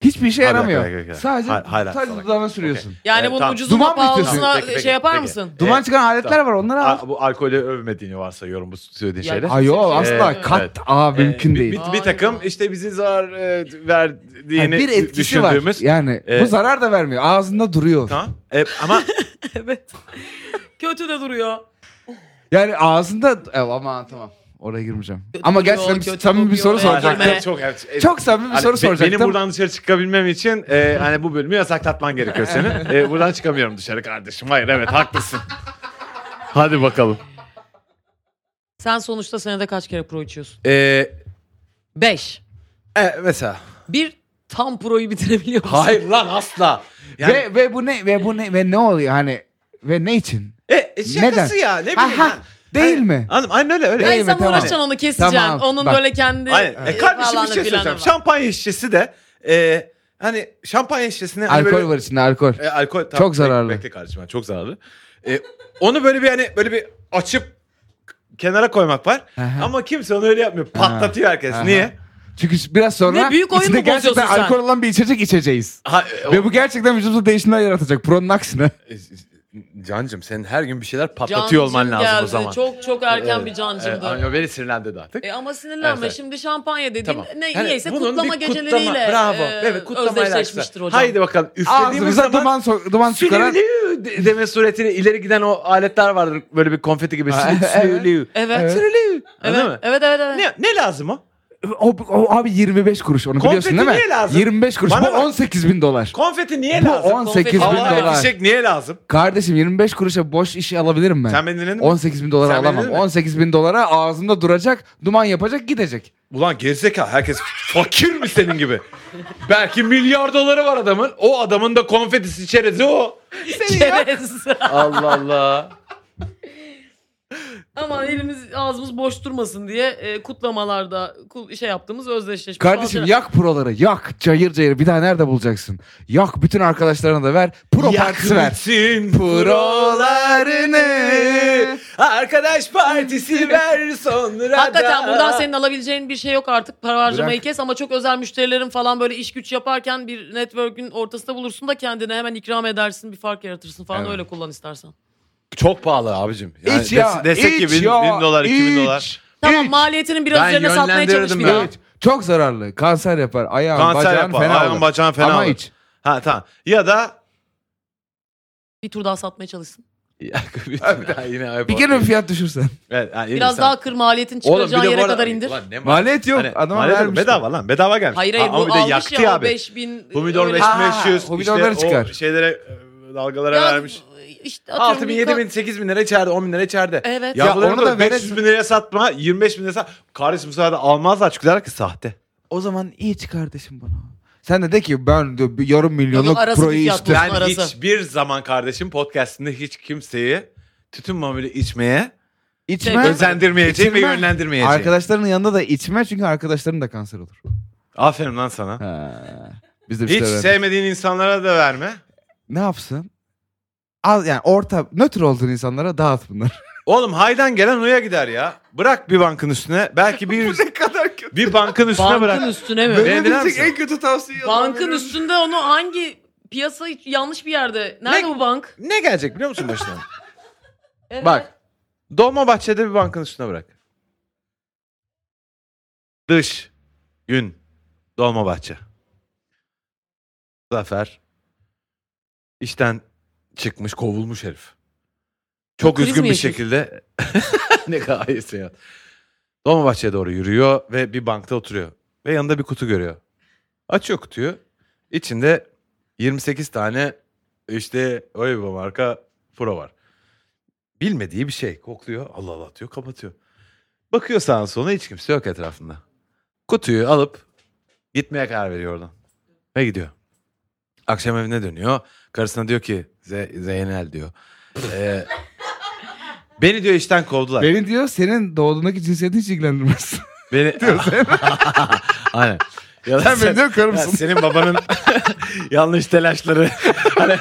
Speaker 1: Hiçbir işe
Speaker 2: Hayır,
Speaker 1: yaramıyor.
Speaker 2: hayır, hayır, hayır.
Speaker 1: Sadece,
Speaker 2: Hayır, hayır,
Speaker 1: sadece
Speaker 2: salak.
Speaker 1: dudağına sürüyorsun.
Speaker 3: Yani
Speaker 2: Evet,
Speaker 3: bunun
Speaker 2: tamam.
Speaker 3: ucuzuna
Speaker 1: Duman mı istiyorsun?
Speaker 3: pahalısına
Speaker 2: Peki, peki,
Speaker 3: şey yapar
Speaker 2: peki.
Speaker 3: mısın? [laughs]
Speaker 1: Duman
Speaker 2: Evet,
Speaker 1: çıkan
Speaker 2: E,
Speaker 1: aletler
Speaker 2: tamam.
Speaker 1: var onları al.
Speaker 2: Aa, bu alkolü övmediğini varsayıyorum bu söylediğin
Speaker 3: Ya,
Speaker 2: şeyle.
Speaker 3: Ay,
Speaker 1: Ay yo asla
Speaker 3: Evet.
Speaker 1: kat aa
Speaker 2: Ee,
Speaker 1: mümkün
Speaker 2: bir-
Speaker 1: değil.
Speaker 2: Bir, bir takım işte bizi zarar e, verdiğini
Speaker 1: Yani bir etkisi var.
Speaker 2: düşündüğümüz.
Speaker 1: Yani
Speaker 2: Ee,
Speaker 1: bu zarar da vermiyor. Ağzında duruyor.
Speaker 2: Tamam. E, ama
Speaker 3: evet. Kötü de duruyor.
Speaker 1: Yani ağzında e, ama tamam. Oraya girmeyeceğim. ama
Speaker 3: duruyor,
Speaker 1: gerçekten
Speaker 3: kötü
Speaker 1: bir, samimi bir
Speaker 3: kokuyor,
Speaker 1: soru
Speaker 3: evet,
Speaker 1: soracaktım.
Speaker 3: girme.
Speaker 2: çok evet.
Speaker 1: Çok samimi bir
Speaker 2: Hani
Speaker 1: soru
Speaker 2: be-
Speaker 1: soracaktım.
Speaker 2: Benim buradan dışarı çıkabilmem için e, hani bu bölümü yasaklatman gerekiyor senin. E, buradan çıkamıyorum dışarı kardeşim. Hayır evet haklısın. Hadi bakalım.
Speaker 3: Sen sonuçta senede kaç kere pro içiyorsun?
Speaker 2: E,
Speaker 3: Beş.
Speaker 2: e, mesela.
Speaker 3: Bir tam proyu bitirebiliyor musun?
Speaker 2: Hayır lan asla. Yani,
Speaker 1: ve ve bu ne ve bu ne ve ne oluyor hani ve ne için?
Speaker 2: e, e, şakası
Speaker 1: Neden?
Speaker 2: ya ne bileyim.
Speaker 1: Aha,
Speaker 2: ben.
Speaker 1: değil
Speaker 2: Hani-
Speaker 1: mi?
Speaker 2: Hanım aynen öyle öyle.
Speaker 1: Değil
Speaker 3: Ay
Speaker 1: mi?
Speaker 3: sen
Speaker 1: Tamam.
Speaker 3: uğraşacaksın onu keseceksin.
Speaker 1: Tamam,
Speaker 3: Onun
Speaker 1: bak.
Speaker 3: böyle kendi
Speaker 2: Aynen. E, kardeşim
Speaker 3: falanı
Speaker 2: bir şey
Speaker 3: filanı
Speaker 2: söyleyeceğim.
Speaker 3: var.
Speaker 2: Şampanya şişesi de e, hani şampanya şişesini hani
Speaker 1: alkol
Speaker 2: böyle-
Speaker 1: var içinde alkol.
Speaker 2: E, alkol tamam,
Speaker 1: Çok
Speaker 2: bek-
Speaker 1: zararlı.
Speaker 2: Bekle kardeşim yani, çok zararlı. E, onu böyle bir hani böyle bir açıp kenara koymak var.
Speaker 1: Aha.
Speaker 2: Ama kimse onu öyle yapmıyor. Patlatıyor herkes.
Speaker 1: Aha.
Speaker 2: Niye?
Speaker 1: Çünkü biraz sonra
Speaker 3: Ne, büyük oyun
Speaker 1: içinde
Speaker 3: mu bozuyorsun
Speaker 1: gerçekten
Speaker 3: sen?
Speaker 1: alkol olan bir içecek içeceğiz.
Speaker 2: Ha, e,
Speaker 1: Ve bu gerçekten vücudumuzda değişimler yaratacak. Pro'nun aksine.
Speaker 2: e, Cancım senin her gün bir şeyler
Speaker 3: Cancım
Speaker 2: patlatıyor olman lazım
Speaker 3: geldi.
Speaker 2: o zaman.
Speaker 3: Çok çok erken
Speaker 2: Evet,
Speaker 3: bir
Speaker 2: evet,
Speaker 3: cancımdı.
Speaker 2: Anyo beni sinirlendi artık.
Speaker 3: e ama sinirlenme
Speaker 2: Evet.
Speaker 3: şimdi şampanya dediğin
Speaker 2: Tamam.
Speaker 3: ne,
Speaker 2: Yani
Speaker 3: niyeyse
Speaker 2: bunun bir
Speaker 3: kutlama geceleriyle
Speaker 2: bravo.
Speaker 3: e,
Speaker 2: evet, kutlamayla
Speaker 3: özdeşleşmiştir
Speaker 2: alakası.
Speaker 3: hocam.
Speaker 2: Haydi bakalım. Üflediğimiz
Speaker 1: Ağzımıza
Speaker 2: zaman
Speaker 1: duman, so- duman çıkaran
Speaker 2: sülülü de- deme suretiyle ileri giden o aletler vardır. Böyle bir konfeti gibi.
Speaker 1: Ha,
Speaker 2: Sülülü.
Speaker 1: evet.
Speaker 2: Sülülü.
Speaker 3: Evet.
Speaker 2: Anladın mı?
Speaker 3: Evet evet evet.
Speaker 2: Ne, ne lazım o?
Speaker 1: O, o abi 25 kuruş onu biliyorsun
Speaker 2: Konfeti
Speaker 1: değil mi?
Speaker 2: niye lazım?
Speaker 1: 25 kuruş.
Speaker 2: Bana
Speaker 1: bu
Speaker 2: bak.
Speaker 1: 18 bin dolar.
Speaker 2: Konfeti niye
Speaker 1: Bu
Speaker 2: lazım?
Speaker 1: 18 bin
Speaker 3: konfeti.
Speaker 2: Havai
Speaker 3: Havai
Speaker 1: dolar.
Speaker 2: fişek niye lazım?
Speaker 1: Kardeşim 25 kuruşa boş iş alabilirim ben.
Speaker 2: Sen beni dinledin mi?
Speaker 1: 18 bin dolara
Speaker 2: Sen beni
Speaker 1: alamam.
Speaker 2: dinledin mi?
Speaker 1: 18 bin dolara ağzımda duracak, duman yapacak, gidecek.
Speaker 2: Ulan gerizekalı herkes fakir mi senin gibi? Belki milyar doları var adamın. O adamın da konfetisi çerezi o.
Speaker 3: Çerez. [laughs]
Speaker 2: Allah Allah.
Speaker 3: Aman elimiz ağzımız boş durmasın diye e, kutlamalarda kul, şey yaptığımız özdeşleşmiş.
Speaker 1: Kardeşim
Speaker 3: bazı-
Speaker 1: yak proları, yak. Cayır cayır bir daha nerede bulacaksın? Yak bütün arkadaşlarına da ver. Pro partisi ver.
Speaker 2: Yakıtsın
Speaker 1: Prolarını.
Speaker 2: Arkadaş partisi ver sonra
Speaker 3: Hakikaten
Speaker 2: da.
Speaker 3: buradan senin alabileceğin bir şey yok artık. Para harcamayı
Speaker 1: Bırak.
Speaker 3: kes ama çok özel müşterilerin falan böyle iş güç yaparken bir network'ün ortasında bulursun da kendine hemen ikram edersin, bir fark yaratırsın falan
Speaker 2: Evet.
Speaker 3: öyle kullan istersen.
Speaker 2: Çok pahalı abicim.
Speaker 1: İç ya,
Speaker 2: des- desek ki
Speaker 1: iç
Speaker 2: bin,
Speaker 1: ya,
Speaker 2: bin dolar, iki bin
Speaker 1: iç.
Speaker 2: dolar.
Speaker 3: Tamam
Speaker 1: Üç.
Speaker 3: maliyetinin biraz
Speaker 2: Ben
Speaker 3: üzerine satmaya çalış
Speaker 2: yönlendirdim
Speaker 3: bir daha.
Speaker 2: ben.
Speaker 1: Evet. Çok zararlı. Kanser yapar. Ayağın,
Speaker 2: Kanser
Speaker 1: bacağın
Speaker 2: yapar.
Speaker 1: fena
Speaker 2: Ayağın
Speaker 1: olur.
Speaker 2: bacağın fena
Speaker 1: Ama
Speaker 2: olur.
Speaker 1: iç.
Speaker 2: Ha tamam. Ya da
Speaker 3: Bir tur daha satmaya çalışsın.
Speaker 2: yine ayıp
Speaker 1: Bir
Speaker 2: oldu.
Speaker 1: kere fiyat düşürsen.
Speaker 2: Evet, ha, yine
Speaker 3: Biraz
Speaker 2: sen-
Speaker 3: daha kır maliyetin
Speaker 2: Oğlum, bir
Speaker 3: çıkaracağın
Speaker 2: de bu
Speaker 3: yere
Speaker 2: arada-
Speaker 3: kadar indir.
Speaker 2: Ulan ne mal-
Speaker 1: Maliyet yok.
Speaker 2: Hani
Speaker 1: adama
Speaker 2: maliyet yok,
Speaker 1: vermiş.
Speaker 2: Bedava lan. Bedava gelmiş.
Speaker 3: Hayır hayır
Speaker 2: Ama bir
Speaker 3: bu
Speaker 2: de
Speaker 3: almış
Speaker 2: yaktı
Speaker 3: ya o
Speaker 2: abi.
Speaker 3: 5000.
Speaker 2: Humidor
Speaker 3: öyle-
Speaker 2: 5500
Speaker 1: humidorları
Speaker 2: işte
Speaker 1: çıkar.
Speaker 2: o şeylere e, dalgalara
Speaker 3: Ya,
Speaker 2: vermiş.
Speaker 3: işte atıyorum
Speaker 2: 6 bin,
Speaker 3: bir
Speaker 2: 7
Speaker 3: ka-
Speaker 2: bin, 8 bin lira içeride, 10 bin lira içeride.
Speaker 3: Evet.
Speaker 1: Ya
Speaker 2: Ya,
Speaker 1: onu
Speaker 2: onu
Speaker 1: da
Speaker 2: da 500 bin liraya satma, 25 bin liraya sat. Kardeşim bu sefer de almazlar çünkü derler ki sahte.
Speaker 1: O zaman iç kardeşim bana. Sen de de ki ben de bir yarım milyonluk
Speaker 3: Yok, arası
Speaker 1: proyu
Speaker 3: bir fiyat
Speaker 1: içtim.
Speaker 3: bu.
Speaker 2: Ben
Speaker 3: arası.
Speaker 2: hiçbir zaman kardeşim podcastinde hiç kimseyi tütün mamülü içmeye
Speaker 1: İçme.
Speaker 2: özendirmeyeceğim ve
Speaker 1: İçilmez.
Speaker 2: yönlendirmeyeceğim.
Speaker 1: Arkadaşlarının yanında da içme çünkü arkadaşların da kanser olur.
Speaker 2: Aferin lan sana.
Speaker 1: Ha. Biz de bir
Speaker 2: Hiç
Speaker 1: şeyler-
Speaker 2: sevmediğin insanlara da verme.
Speaker 1: Ne yapsın? Az yani orta nötr olduğun insanlara dağıt bunları.
Speaker 2: Oğlum haydan gelen oya gider ya. Bırak bir bankın üstüne.
Speaker 1: [laughs]
Speaker 2: Belki bir
Speaker 1: ne kadar kötü.
Speaker 2: bir bankın üstüne
Speaker 3: Bankın
Speaker 2: bırak.
Speaker 3: üstüne mi?
Speaker 2: Böyle- Beğendiler misin?
Speaker 1: kötü tavsiye.
Speaker 3: Bankın üstünde onu hangi piyasa yanlış bir yerde. Nerede
Speaker 2: Ne-
Speaker 3: bu bank?
Speaker 2: Ne gelecek biliyor musun başına?
Speaker 3: Evet.
Speaker 2: Bak. Dolmabahçe'de bir bankın üstüne bırak. Dış. Gün. Dolmabahçe. Zafer. işten çıkmış, kovulmuş herif. Çok
Speaker 3: Kriz
Speaker 2: üzgün
Speaker 3: mi
Speaker 2: bir
Speaker 3: yaşıyor?
Speaker 2: şekilde. [laughs] ne kadar hayırsı ya. Dolmabahçe'ye doğru yürüyor ve bir bankta oturuyor. Ve yanında bir kutu görüyor. Açıyor kutuyu. İçinde 28 tane işte öyle bir marka pro var. Bilmediği bir şey. Kokluyor. Allah Allah diyor. Kapatıyor. Bakıyor sağa sola hiç kimse yok etrafında. Kutuyu alıp gitmeye karar veriyor oradan. Ve gidiyor. Akşam evine dönüyor. Karısına diyor ki "Ze- Zeynel diyor. "Ee, beni diyor işten kovdular.
Speaker 1: Beni diyor senin doğduğundaki cinsiyeti hiç [laughs] ilgilendirmez.
Speaker 2: beni [laughs] Aynen. Ya
Speaker 1: Sen beni diyor
Speaker 2: Ya
Speaker 1: karımsın.
Speaker 2: senin babanın yanlış telaşları. hani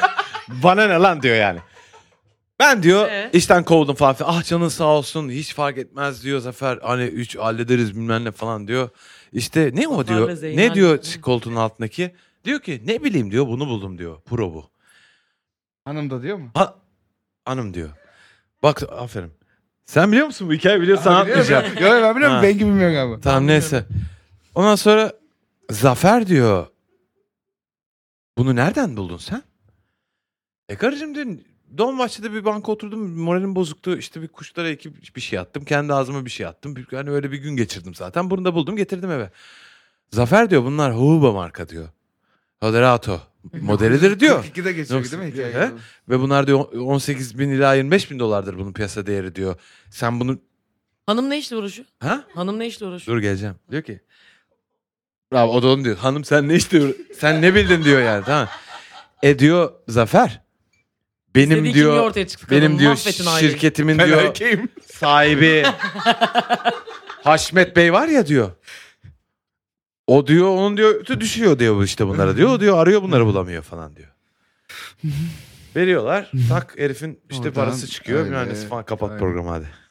Speaker 2: bana ne lan diyor yani. Ben diyor
Speaker 3: Ee?
Speaker 2: işten kovuldum falan filan. Ah canın sağ olsun hiç fark etmez diyor Zafer. Hani üç hallederiz bilmem ne falan diyor. İşte ne o
Speaker 3: Zafer
Speaker 2: diyor.
Speaker 3: ve Zeynel.
Speaker 2: Ne diyor koltuğun altındaki? Diyor ki ne bileyim diyor bunu buldum diyor. Pro bu.
Speaker 1: Hanım da diyor mu?
Speaker 2: Ha, hanım diyor. Bak aferin. Sen biliyor musun bu hikayeyi biliyorsan
Speaker 1: Biliyor
Speaker 2: anlatmayacağım.
Speaker 1: musun? Yok ben biliyorum.
Speaker 2: Ha.
Speaker 1: Bengi bilmiyor galiba.
Speaker 2: Tamam
Speaker 3: Anlıyorum.
Speaker 2: neyse. Ondan sonra Zafer diyor. Bunu nereden buldun sen? E karıcığım diyor. Dolmabahçe'de bir banka oturdum. Moralim bozuktu. İşte bir kuşlara iki bir şey attım. Kendi ağzıma bir şey attım. Bir, hani öyle bir gün geçirdim zaten. Bunu da buldum getirdim eve. Zafer diyor bunlar Huuba marka diyor. Moderato. Modelidir diyor.
Speaker 1: 42'de geçiyor
Speaker 2: Yoksa-
Speaker 1: değil mi hikaye?
Speaker 2: He? Ve bunlar diyor 18 bin ila 25 bin dolardır bunun piyasa değeri diyor. Sen bunu...
Speaker 3: Hanım ne işle uğraşıyor?
Speaker 2: Ha?
Speaker 3: Hanım ne işle uğraşıyor?
Speaker 2: Dur geleceğim. Diyor ki. Bravo o da onu diyor. Hanım sen ne işte sen ne bildin diyor yani tamam. E diyor Zafer. Benim
Speaker 3: Dediği kimliği
Speaker 2: diyor
Speaker 3: ortaya çıktı.
Speaker 2: benim
Speaker 3: kadın.
Speaker 2: diyor
Speaker 3: Mahvettin aileyi.
Speaker 2: şirketimin
Speaker 1: Ben
Speaker 2: diyor
Speaker 1: erkeğim.
Speaker 2: [laughs] sahibi Haşmet Bey var ya diyor. O diyor onun diyor ötü düşüyor diyor bu işte bunlara diyor. O diyor arıyor bunları bulamıyor falan [laughs] diyor. Veriyorlar. Tak herifin işte
Speaker 1: Oradan
Speaker 2: parası çıkıyor.
Speaker 1: öyle,
Speaker 2: Mühendis falan kapat
Speaker 1: öyle.
Speaker 2: programı hadi.